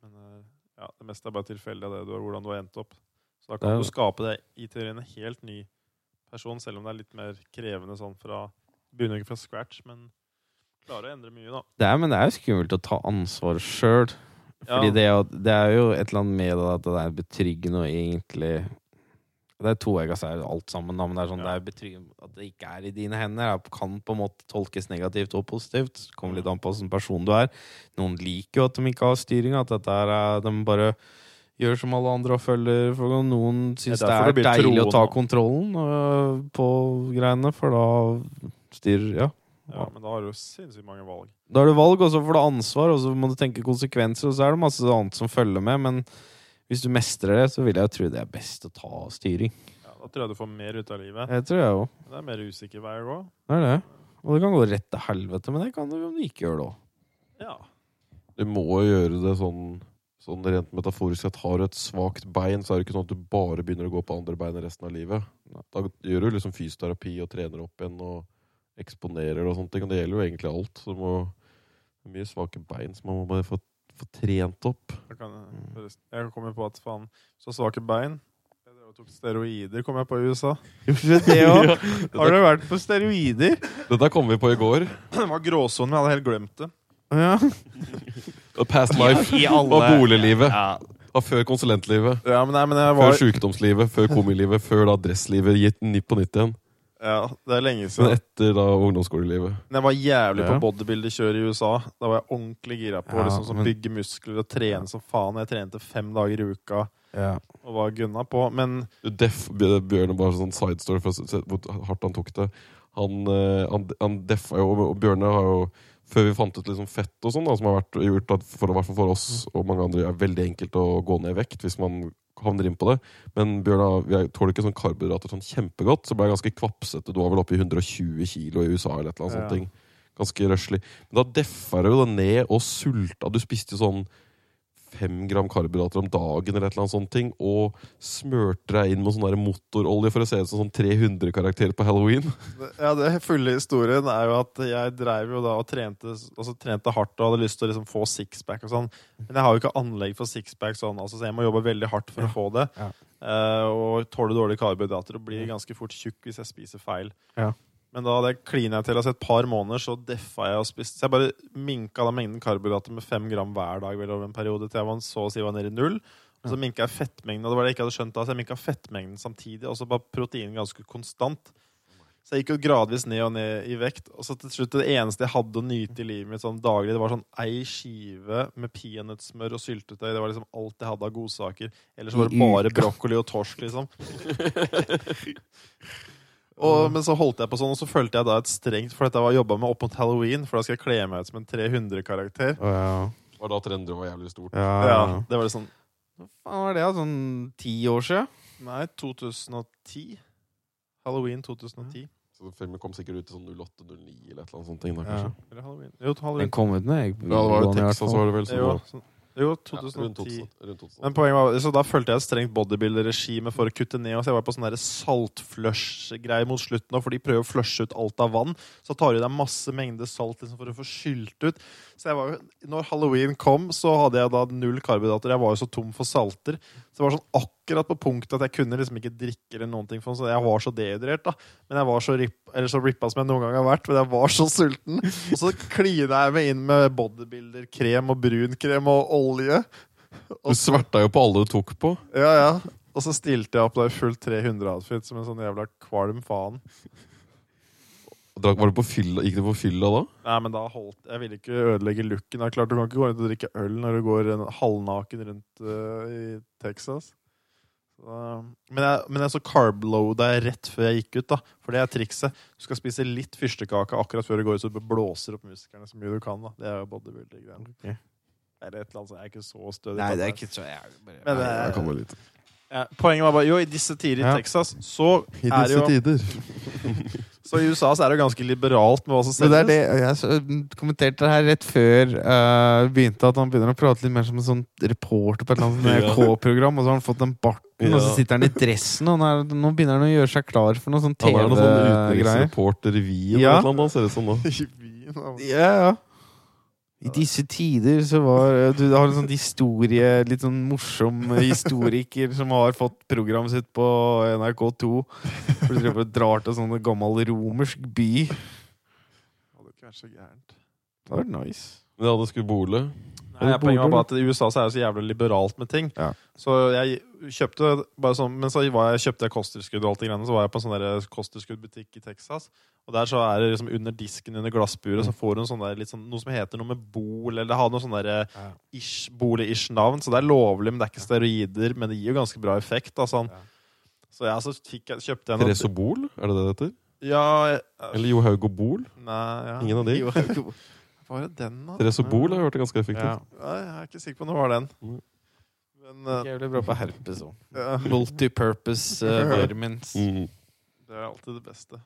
C: Men eh, ja, det meste er bare tilfeldig av det du har, hvordan du har endt opp. Så da
D: Det er
C: kan du
D: det.
C: skape deg i teorien en helt ny person, selv om det er litt mer krevende sånn fra Begynner ikke fra scratch, men klarer å endre mye, da.
D: det er, Men det er jo skummelt å ta ansvar sjøl. Fordi
C: Ja.
D: det, er jo- det er jo et eller annet med det at det er betryggende og egentlig Det er toegga seier, alt sammen, da, men det er sånn det er betryggende at det ikke er i dine hender. Det kan på en måte tolkes negativt og positivt. Det kommer litt an på hvilken person du er. Noen liker jo at de ikke har styring, at dette er, eh, de bare gjør som alle andre og følger for Noen syns
C: Det er
D: det
C: derfor
D: er,
C: det blir
D: deilig å ta
C: troende.
D: kontrollen eh, på greiene, for da styrer Ja.
C: Ja, men da har du jo sinnssykt mange valg.
D: Da har du valg, og så får du ansvar, og så må du tenke konsekvenser, og så er det masse annet som følger med, men hvis du mestrer det, så vil jeg tro det er best å ta styring.
C: Ja, da tror jeg du får mer ut av livet.
D: Det tror jeg òg.
C: Men Det er mer usikker vei å gå.
D: Det er det. Og det kan gå rett til helvete, men det kan du jo ikke gjøre det òg.
C: Ja.
E: Du må jo gjøre det sånn Sånn rent metaforisk sett Har du et svakt bein, så er det ikke sånn at du bare begynner å gå på andre bein resten av livet. Da gjør du liksom fysioterapi og trener opp igjen og eksponerer og sånt. ting, og Det gjelder jo egentlig alt. Så du må det er mye svake bein som man må bare få, få trent opp.
C: Jeg, kan, forresten, jeg kom jo på at faen, så svake bein Jeg drev og tok steroider, kom jeg på i USA.
D: Det òg.
E: Ja.
D: Har du vært på steroider?
E: Dette kom vi på i går.
C: Det var gråsonen, men jeg hadde helt glemt det.
D: Ja.
E: The Past life
D: I
E: var
D: alle
E: boliglivet.
D: ja.
E: Var før konsulentlivet.
C: Ja, men, nei, men jeg
E: Før
C: var,
E: sjukdomslivet, før komilivet, før da dresslivet gitt nipp på nytt igjen.
C: ja, det er lenge
E: Men
C: siden.
E: etter da ungdomsskolelivet.
C: Men jeg var jævlig på
D: Ja.
C: bodybuilderkjør i USA. Da var jeg ordentlig gira på
D: Ja,
C: å liksom,
D: men-
C: å bygge muskler og trene som faen. Jeg trente fem dager i uka
D: Ja.
C: og var gunna på. Men
E: Def, Bjørn bare sånn side story for å se- se hvor hardt han tok det. Han, eh, han, han deffa jo, og Bjørne har jo Før vi fant ut liksom fett og sånn, da, som har vært, gjort at for, i hvert fall for oss og mange andre er veldig enkelt å gå ned i vekt hvis man havner inn på det. Men Bjørn har- jeg tåler ikke sånn karbohydrater sånn kjempegodt, så ble jeg ganske kvapsete. Du var vel oppe i 120 kilo i USA eller et eller annet
C: Ja.
E: sånt. ting. Ganske røslig. Men da deffa du det ned og sulta. Du spiste jo sånn fem gram karbohydrater om dagen eller et eller annet sånt ting, og smørte deg inn med sånn der motorolje for å se ut som sånn 300 karakterer på Halloween.
C: Ja, det fulle historien er jo at jeg dreiv jo da og trente, altså, trente hardt og hadde lyst til å liksom få sixpack og sånn. Men jeg har jo ikke anlegg for sixpack sånn, altså, så jeg må jobbe veldig hardt for å få det.
D: Ja.
C: Eh, og tåle dårlige karbohydrater og blir ganske fort tjukk hvis jeg spiser feil.
D: Ja.
C: Men da det klina jeg til altså et par måneder, så deffa jeg og spiste. Så jeg bare minka da mengden karbohydrater med fem gram hver dag vel over en periode til jeg var så å si var nede i null. Og så minka jeg fettmengden, og det var det jeg ikke hadde skjønt da, så jeg minka fettmengden samtidig, og så var proteinen ganske konstant. Så jeg gikk jo gradvis ned og ned i vekt. Og så til slutt det eneste jeg hadde å nyte i livet mitt sånn daglig, det var sånn ei skive med peanøttsmør og syltetøy. Det var liksom alt jeg hadde av godsaker. Ellers så var det bare brokkoli og torsk, liksom. Og, men så holdt jeg på sånn, og så følte jeg da et strengt For dette var jobba med opp mot halloween, for da skal jeg kle meg ut som en 300-karakter.
D: Å, ja.
E: Var da trender var jævlig stort.
D: Ja.
C: Ja, Det var det sånn
D: Hva faen var det, da? Sånn ti år siden?
C: Nei, 2010. Halloween 2010.
E: Så filmen kom sikkert ut i sånn 08-09 eller et eller annet sånt ting da,
D: Ja.
E: kanskje.
C: Eller halloween. Jo,
D: Den
C: halloween.
D: kom ut når jeg
E: Ja, det var jo Texas, var det vel?
C: Jo,
E: Sånn,
C: sånn- jo
E: ja, rundt
C: 2010.
E: 2000, rundt 2000.
C: Men poenget var, så Da fulgte jeg et strengt bodybuilder-regime for å kutte ned. Og så jeg var på sånn der saltflush-greie mot slutten, også, for de prøver å flushe ut alt av vann. Så tar de deg masse mengde salt liksom, for å få skylt ut. Så jeg var, jo- når halloween kom, så hadde jeg da null karbohydrater. Jeg var jo så tom for salter. Så det var sånn akkurat på punktet at jeg kunne liksom ikke drikke eller noen ting. For så jeg var så dehydrert, da. Men jeg var så, rip, eller så rippa som jeg noen gang har vært. Men jeg var så sulten. Og så klina jeg meg inn med bodybuilder-krem og brunkrem og olje.
E: Du sverta jo på alle du tok på.
C: Ja, ja. Og så stilte jeg opp da i full 300-outfit som en sånn jævla kvalm faen.
E: Drakk- Var du på fylla? Gikk du på fylla da?
C: Nei, men da holdt Jeg ville ikke ødelegge looken. Det er klart Du kan ikke gå rundt og drikke øl når du går en- halvnaken rundt eh, i Texas. Så, eh, men, jeg, men jeg så carbloada jeg rett før jeg gikk ut, da. For det er trikset. Du skal spise litt fyrstekake akkurat før du går ut, så du blåser opp musklene så mye du kan. da Det er jo bodybuilder-greiene.
D: Ok.
C: Eller et eller annet, så jeg er ikke så stødig.
D: Nei,
C: på der.
D: det er ikke så jeg, bare,
C: Men det er-
E: Jeg kan bare litt.
C: Ja, poenget var bare Jo, i disse tider i
D: Ja.
C: Texas, så
E: I
C: er det
E: disse
C: jo
E: tider.
C: Så i USA så er det jo ganske liberalt med hva som
D: Men det
C: selges.
D: er det, jeg så- mm, kommenterte det her rett før eh, begynte, at han begynner å prate litt mer som en sånn reporter på et eller annet
E: Ja.
D: sånt NRK-program, og så har han fått den barten, og så
E: Ja.
D: sitter han i dressen, og han er, nå begynner han å gjøre seg klar for noe sånn
E: Han er noe sånn
D: TV-greier.
E: utenriksreporter i Wien
D: Ja.
E: eller noe sånt. Ser det ut som nå.
C: I byen, da.
D: Ja, ja. I disse tider så var eh, Du har en sånn historie Litt sånn morsom historiker som har fått programmet sitt på NRK2. For de driver og drar til sånn gammel romersk by. Det
C: Det hadde ikke vært så gærent.
D: hadde vært nice.
E: Men jeg hadde skubole.
C: Nei, Nei,
B: Og
C: poenget var
B: bordbøl.
C: bare at I USA så er det så jævlig liberalt med ting.
B: Ja.
C: Så jeg kjøpte bare sånn, Men så var jeg, kjøpte jeg kosttilskudd og alt det greiene. Så var jeg på en sånn der kosttilskuddbutikk i Texas. Og der så er det liksom under disken under glassburet så får du en sånn der, litt sånn, noe som heter noe med bol, eller det har noe sånn der eh, ish, bole-ish navn. Så det er lovlig, men det er ikke steroider. Men det gir jo ganske bra effekt. Da, sånn. Så jeg så fikk, jeg- kjøpte jeg noe
E: Tresobol, er det det det heter?
C: ja, jeg-
E: Eller Johaugobol?
C: Nei, ja.
E: Ingen av de?
C: Jo, Hva var det den, da?
E: Tresobol har jeg hørt det ganske
C: ja.
E: effektivt.
C: Nei, Jeg er ikke sikker på om det var den.
E: Mm.
C: Men eh,
D: Jævlig bra på herpes òg.
C: ja.
D: Multipurpose eh, vitamins.
E: Mm.
C: Det er alltid det beste.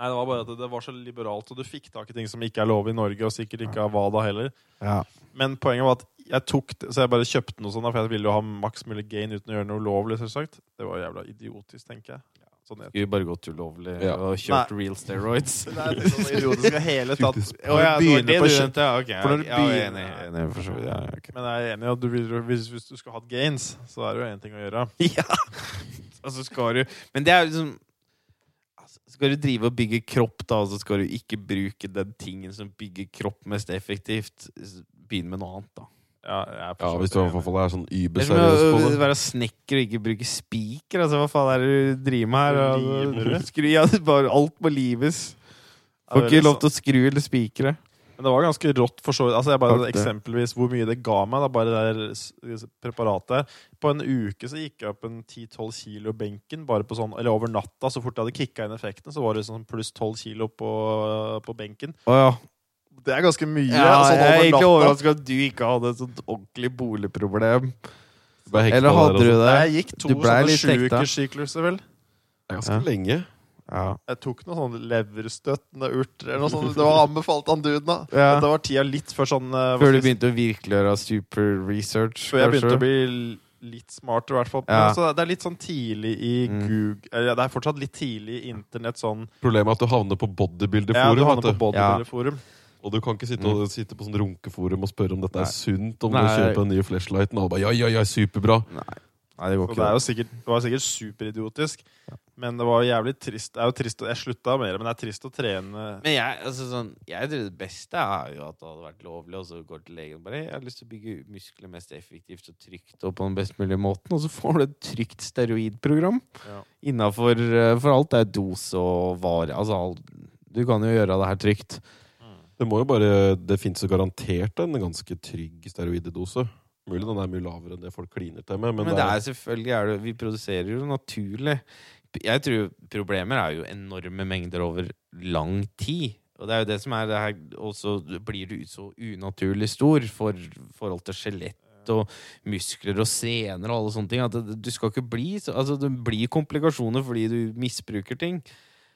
C: Nei, Det var bare at det var så liberalt, og du fikk tak i ting som ikke er lov i Norge. og sikkert ikke av WADA heller.
B: Ja.
C: Men poenget var at jeg tok det, så jeg bare kjøpte noe sånt, da, for jeg ville jo ha maks mulig gain uten å gjøre noe ulovlig. selvsagt. Det var jævla idiotisk, tenker jeg. Sånn jeg
D: Skulle bare gått ulovlig
E: Ja.
D: og kjørt real steroids.
C: Nei, det er sånn idiotisk i hele tatt.
D: Å
C: Og jeg
D: ja, det var
C: begynner
D: det
C: på
D: du
C: kjø-
D: mente? Ja, ok.
C: For når du
D: Ja, jeg er
C: begynner-
D: enig, jeg er enig, for så vidt. Ja, ja, ok.
C: Men jeg er enig i at du vil, hvis, hvis du skal ha et gains, så er det jo én ting å gjøre.
D: Ja! Altså skal du Men det er jo liksom altså, Skal du drive og bygge kropp, da, og så skal du ikke bruke den tingen som bygger kropp mest effektivt, s- begynn med noe annet, da.
C: Ja, jeg er for
E: Ja,
C: så
E: hvis
C: vidt
E: du i
C: enig.
E: hvert fall er sånn
D: Det er som å
E: überseriøs på det.
D: være snekker og ikke bruke spiker. Altså, hva faen er det du driver med her?
C: Limer
D: Altså,
C: du?
D: skru, ja, det er bare alt må lives.
C: Ja,
D: Får
C: det er
D: ikke lov
C: litt
D: til å skru eller spikre.
C: sånn. Men det var ganske rått, for så vidt. Altså, jeg bare,
B: Takk, det.
C: eksempelvis hvor mye det ga meg, da, bare det der s- s- preparatet. her. På en uke så gikk jeg opp en 10-12 kilo i benken, bare på sånn, eller over natta. Så fort jeg hadde kicka inn effekten, så var det sånn pluss 12 kilo på, på benken.
D: Å ja.
C: Det er ganske mye.
D: ja
C: sånn
D: jeg er egentlig
C: over natta.
D: overraska at du ikke hadde et sånt ordentlig boligproblem.
E: Ble hekta
D: Eller hadde
E: der,
D: du
E: altså.
D: det?
C: Jeg gikk to
D: Du ble
C: sånne
D: litt hekta.
C: sjukersykluser, vel.
E: Det er Ganske lenge.
D: Ja.
C: Jeg tok noen sånne leverstøttende urter eller noe sånt. Det var anbefalt han duden, da.
D: Ja.
C: Dette var tida litt før sånn eh, hva skal
D: Før du
C: jeg si,
D: begynte å virkelig gjøre super research?
C: Før jeg begynte
D: kanskje?
C: å bli l- litt smartere, i hvert fall.
D: Ja.
C: Men altså, det er litt sånn tidlig i
D: Mm.
C: Google eller, ja, Det er fortsatt litt tidlig i internett sånn
E: Problemet er at du havner på
C: Ja, du
E: bodybuilderforum.
C: havner på
E: vet du.
C: bodybuilderforum.
E: og du kan ikke sitte, og, sitte på sånn runkeforum og spørre om dette er sunt, om du
D: Nei.
E: kjøper den nye flashlighten. Og alle bare, ja, ja, ja, superbra
D: Nei, det
C: Så
D: går ikke.
C: det, er jo sikkert, det var sikkert superidiotisk. Men det var jævlig trist. Det er jo trist å- Jeg slutta med det, men det er trist å trene
D: Men jeg, altså sånn, jeg tror det beste er jo at det hadde vært lovlig, og så går til legen og bare 'Jeg har lyst til å bygge muskler mest effektivt og trygt og på den best mulige måten', og så får du et trygt steroidprogram
C: Ja.
D: innafor For alt er dose og vare. Altså, alt, du kan jo gjøre det her trygt.
E: Det må jo bare, det finnes jo garantert en ganske trygg steroidedose. Mulig den er mye lavere enn det folk kliner til med, men,
D: Men det er selvfølgelig er det, Vi produserer jo naturlig. Jeg tror problemer er jo enorme mengder over lang tid. Og det er jo det som er det her Og så blir du så unaturlig stor for forhold til skjelett og muskler og sener og alle sånne ting. At det, du skal ikke bli så Altså, det blir komplikasjoner fordi du misbruker ting.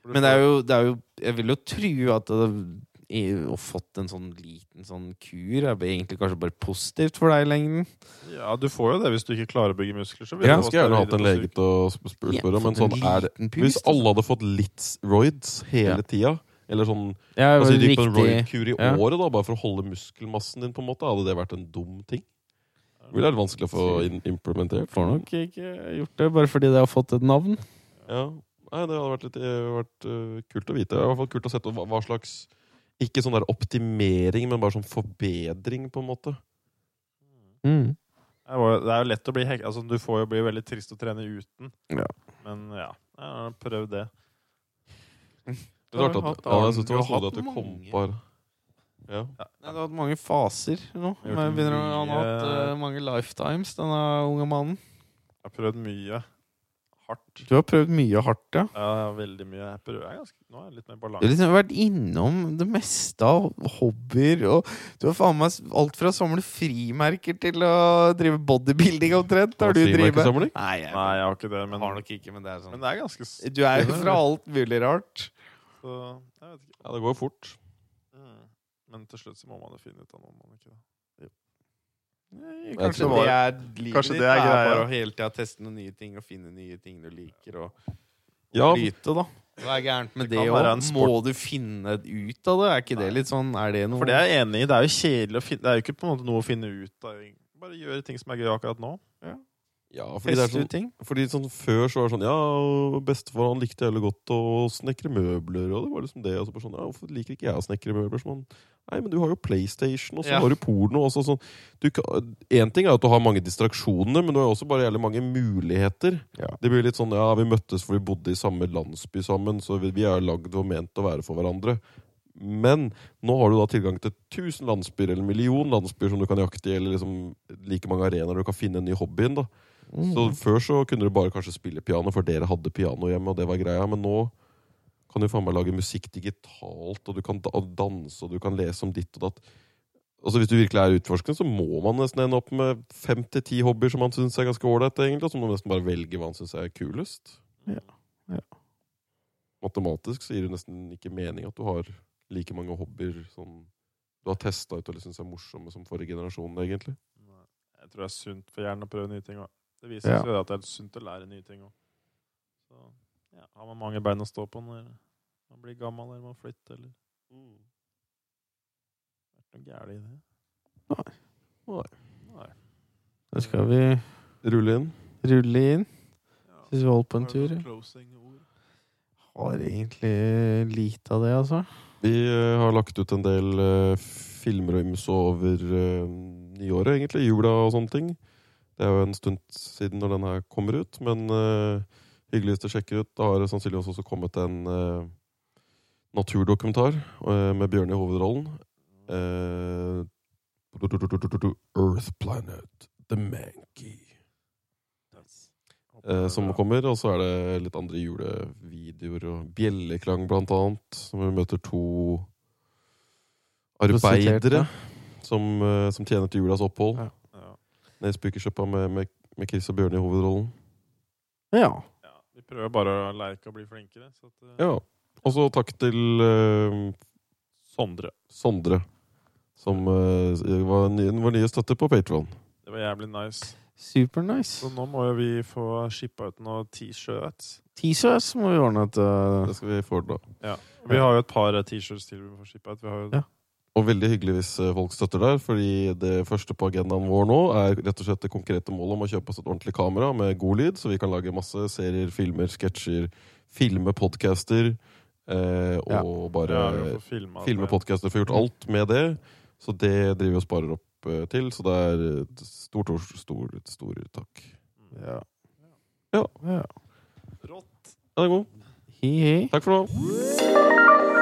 D: Men det er jo, det er jo Jeg vil jo tro at det, å fått en sånn liten sånn kur er egentlig kanskje bare positivt for deg i lengden.
C: Ja, du får jo det hvis du ikke klarer å bygge muskler. Så vil
E: Jeg
C: du få
E: skulle gjerne hatt
C: steroider
E: en
C: på
E: lege til å sp- sp- spørre,
D: Ja,
E: men
D: fått
E: sånn
D: en
E: er det.
D: liten pust.
E: Hvis alle hadde fått litt roids hele
D: Ja.
E: tida, eller sånn
D: Ja, det var
E: altså, du gikk på en
D: riktig.
E: roid-kur i
D: ja.
E: året da, bare for å holde muskelmassen din, på en måte, hadde det vært en dum ting? Det ville vært vanskelig å få in implementert.
D: Får nok ikke gjort det, bare fordi det har fått et navn.
E: Ja. Nei, det hadde vært, litt, eh, vært eh, kult å vite. Det er i hvert fall kult å sette hva, hva slags Ikke sånn der optimering, men bare sånn forbedring, på en måte.
D: Mm.
C: Det var- det er jo lett å bli hek... Altså, du får jo bli veldig trist å trene uten.
D: Ja.
C: Men ja, ja, prøv det.
E: Det er klart at, ja, jeg synes det var
D: Vi har
E: snodig at du
D: hatt
E: kom
D: mange.
E: på her. Ja.
D: Nei, det har hatt mange faser nå.
C: Vi har
D: Men
C: gjort
D: begynner, å- han
C: mye-
D: har hatt eh, mange lifetimes, denne unge mannen.
C: Jeg har prøvd mye. Hardt.
D: Du har prøvd mye hardt, ja.
C: Ja, veldig mye. Jeg prøver jeg er ganske, Nå er jeg litt mer
D: Du har
C: balanse.
D: liksom vært innom det meste av hobbyer. Og du har faen meg s- alt fra å samle frimerker til å drive bodybuilding omtrent. Har du drevet med?
E: Frimerkesamling?
D: Nei, jeg
C: Nei, jeg har ikke det, men,
D: har nok ikke, men det er
C: men
D: sånn.
C: det er ganske s-
D: Du er jo fra alt mulig rart.
C: så, Jeg vet ikke.
E: Ja, det går jo fort.
C: Mm. Men til slutt så må man jo finne ut av noe man ikke da.
D: Kanskje
C: tror
D: det
C: det
D: er livet
C: kanskje
D: ditt.
C: det er
D: da,
C: greia.
D: Bare å hele tida teste noen nye ting og finne nye ting du liker. Og
E: Ja,
D: bryte, da. Hva er gærent med
C: Det
D: det
C: kan være en
D: òg?
C: sport.
D: Må du finne ut av det? Er ikke det litt sånn Er det noe
C: For det er jeg enig i. Det er jo kjedelig å finne Det er jo ikke på en måte noe å finne ut av. egentlig. Bare gjøre ting som er gøy akkurat nå.
E: Ja, fordi, det er
D: Teste
E: sånn,
D: ut ting.
E: fordi sånn før så var det sånn Ja, bestefar han likte jævlig godt å snekre møbler, og det var liksom det. Og så bare sånn, ja, Hvorfor liker ikke jeg å snekre møbler? Som han, Nei, men du har jo PlayStation, og så
D: Ja.
E: har du porno. og så sånn du, kan- En ting er at du har mange distraksjoner, men du har også bare jævlig mange muligheter.
C: Ja.
E: Det blir litt sånn ja, vi møttes for vi bodde i samme landsby sammen, så vi, vi er lagd og ment å være for hverandre. Men nå har du da tilgang til 1000 landsbyer eller en million landsbyer som du kan jakte i, eller liksom like mange arenaer du kan finne en ny hobby inn. da.
C: Mm.
E: Så Før så kunne du bare kanskje spille piano, for dere hadde piano hjemme. og det var greia, Men nå kan du faen meg lage musikk digitalt, og du kan da danse og du kan lese om ditt og datt. Altså Hvis du virkelig er utforskende, så må man nesten ende opp med fem til ti hobbyer som man syns er ganske ålreite, egentlig, og så må man nesten bare velge hva man syns er kulest.
C: Ja, ja.
E: Matematisk så gir det nesten ikke mening at du har like mange hobbyer som du har testa ut og syns er morsomme som forrige generasjon, egentlig.
C: Jeg tror det er sunt for hjernen å prøve nye ting òg. Det viser
D: Ja.
C: seg jo at det er sunt å lære nye ting òg. Så ja, har man mange bein å stå på når man blir gammel eller man flytter eller Mm. Det er ikke noe gærent i det. Nei.
D: Da skal vi
E: Rulle inn.
D: rulle inn.
C: Ja.
D: Syns vi holdt på en
C: Har du
D: tur.
C: noen
D: ja.
C: closing-ord?
D: Har egentlig lite av det, altså.
E: Vi eh, har lagt ut en del eh, filmer og ymse over eh, nyåret, egentlig. Jula og sånne ting. Det er jo en stund siden når den her kommer ut, men eh, hyggelig hvis dere sjekker ut. Da har det sannsynligvis også kommet en eh, naturdokumentar eh, med Bjørn i hovedrollen. Eh, Earth Planet The Mankey. Eh, som kommer. Og så er det litt andre julevideoer og bjelleklang, blant annet. Som vi møter to arbeidere
D: Prostituerte.
E: som, eh, som tjener til julas opphold.
D: Ja.
C: Ja.
E: Nede i spøkelsesjappa med, med, med Chris og Bjørn i hovedrollen.
D: Ja.
C: ja. Vi prøver bare å lære ikke å bli flinkere. Så at, eh,
E: Ja. Og så takk til eh,
C: Sondre.
E: Sondre, som eh, var ny, vår nye støtte på Patron.
C: Det var jævlig nice. Så
D: Supernice.
C: nå må jo vi få shippa ut noen T-shirts.
D: T-shirts må vi ordne eh, til
E: Det skal vi få ordna.
C: Vi har jo et par eh, T-shirts til vi får shippa ut. Vi har jo
D: Ja.
E: Og veldig hyggelig hvis eh, folk støtter der, fordi det første på agendaen vår nå er rett og slett det konkrete målet om å kjøpe oss et ordentlig kamera med god lyd, så vi kan lage masse serier, filmer, sketsjer, filme podcaster, eh, og
D: Ja.
E: bare
C: Ja, altså. vi får filma det.
E: filme podcaster. Får gjort alt med det, så det driver vi og sparer opp eh, til, så det er et stort, stort, stort, stort takk.
D: Ja.
E: Ja.
D: ja.
E: Ja, det er god.
D: Hi, hi.
E: Takk for nå.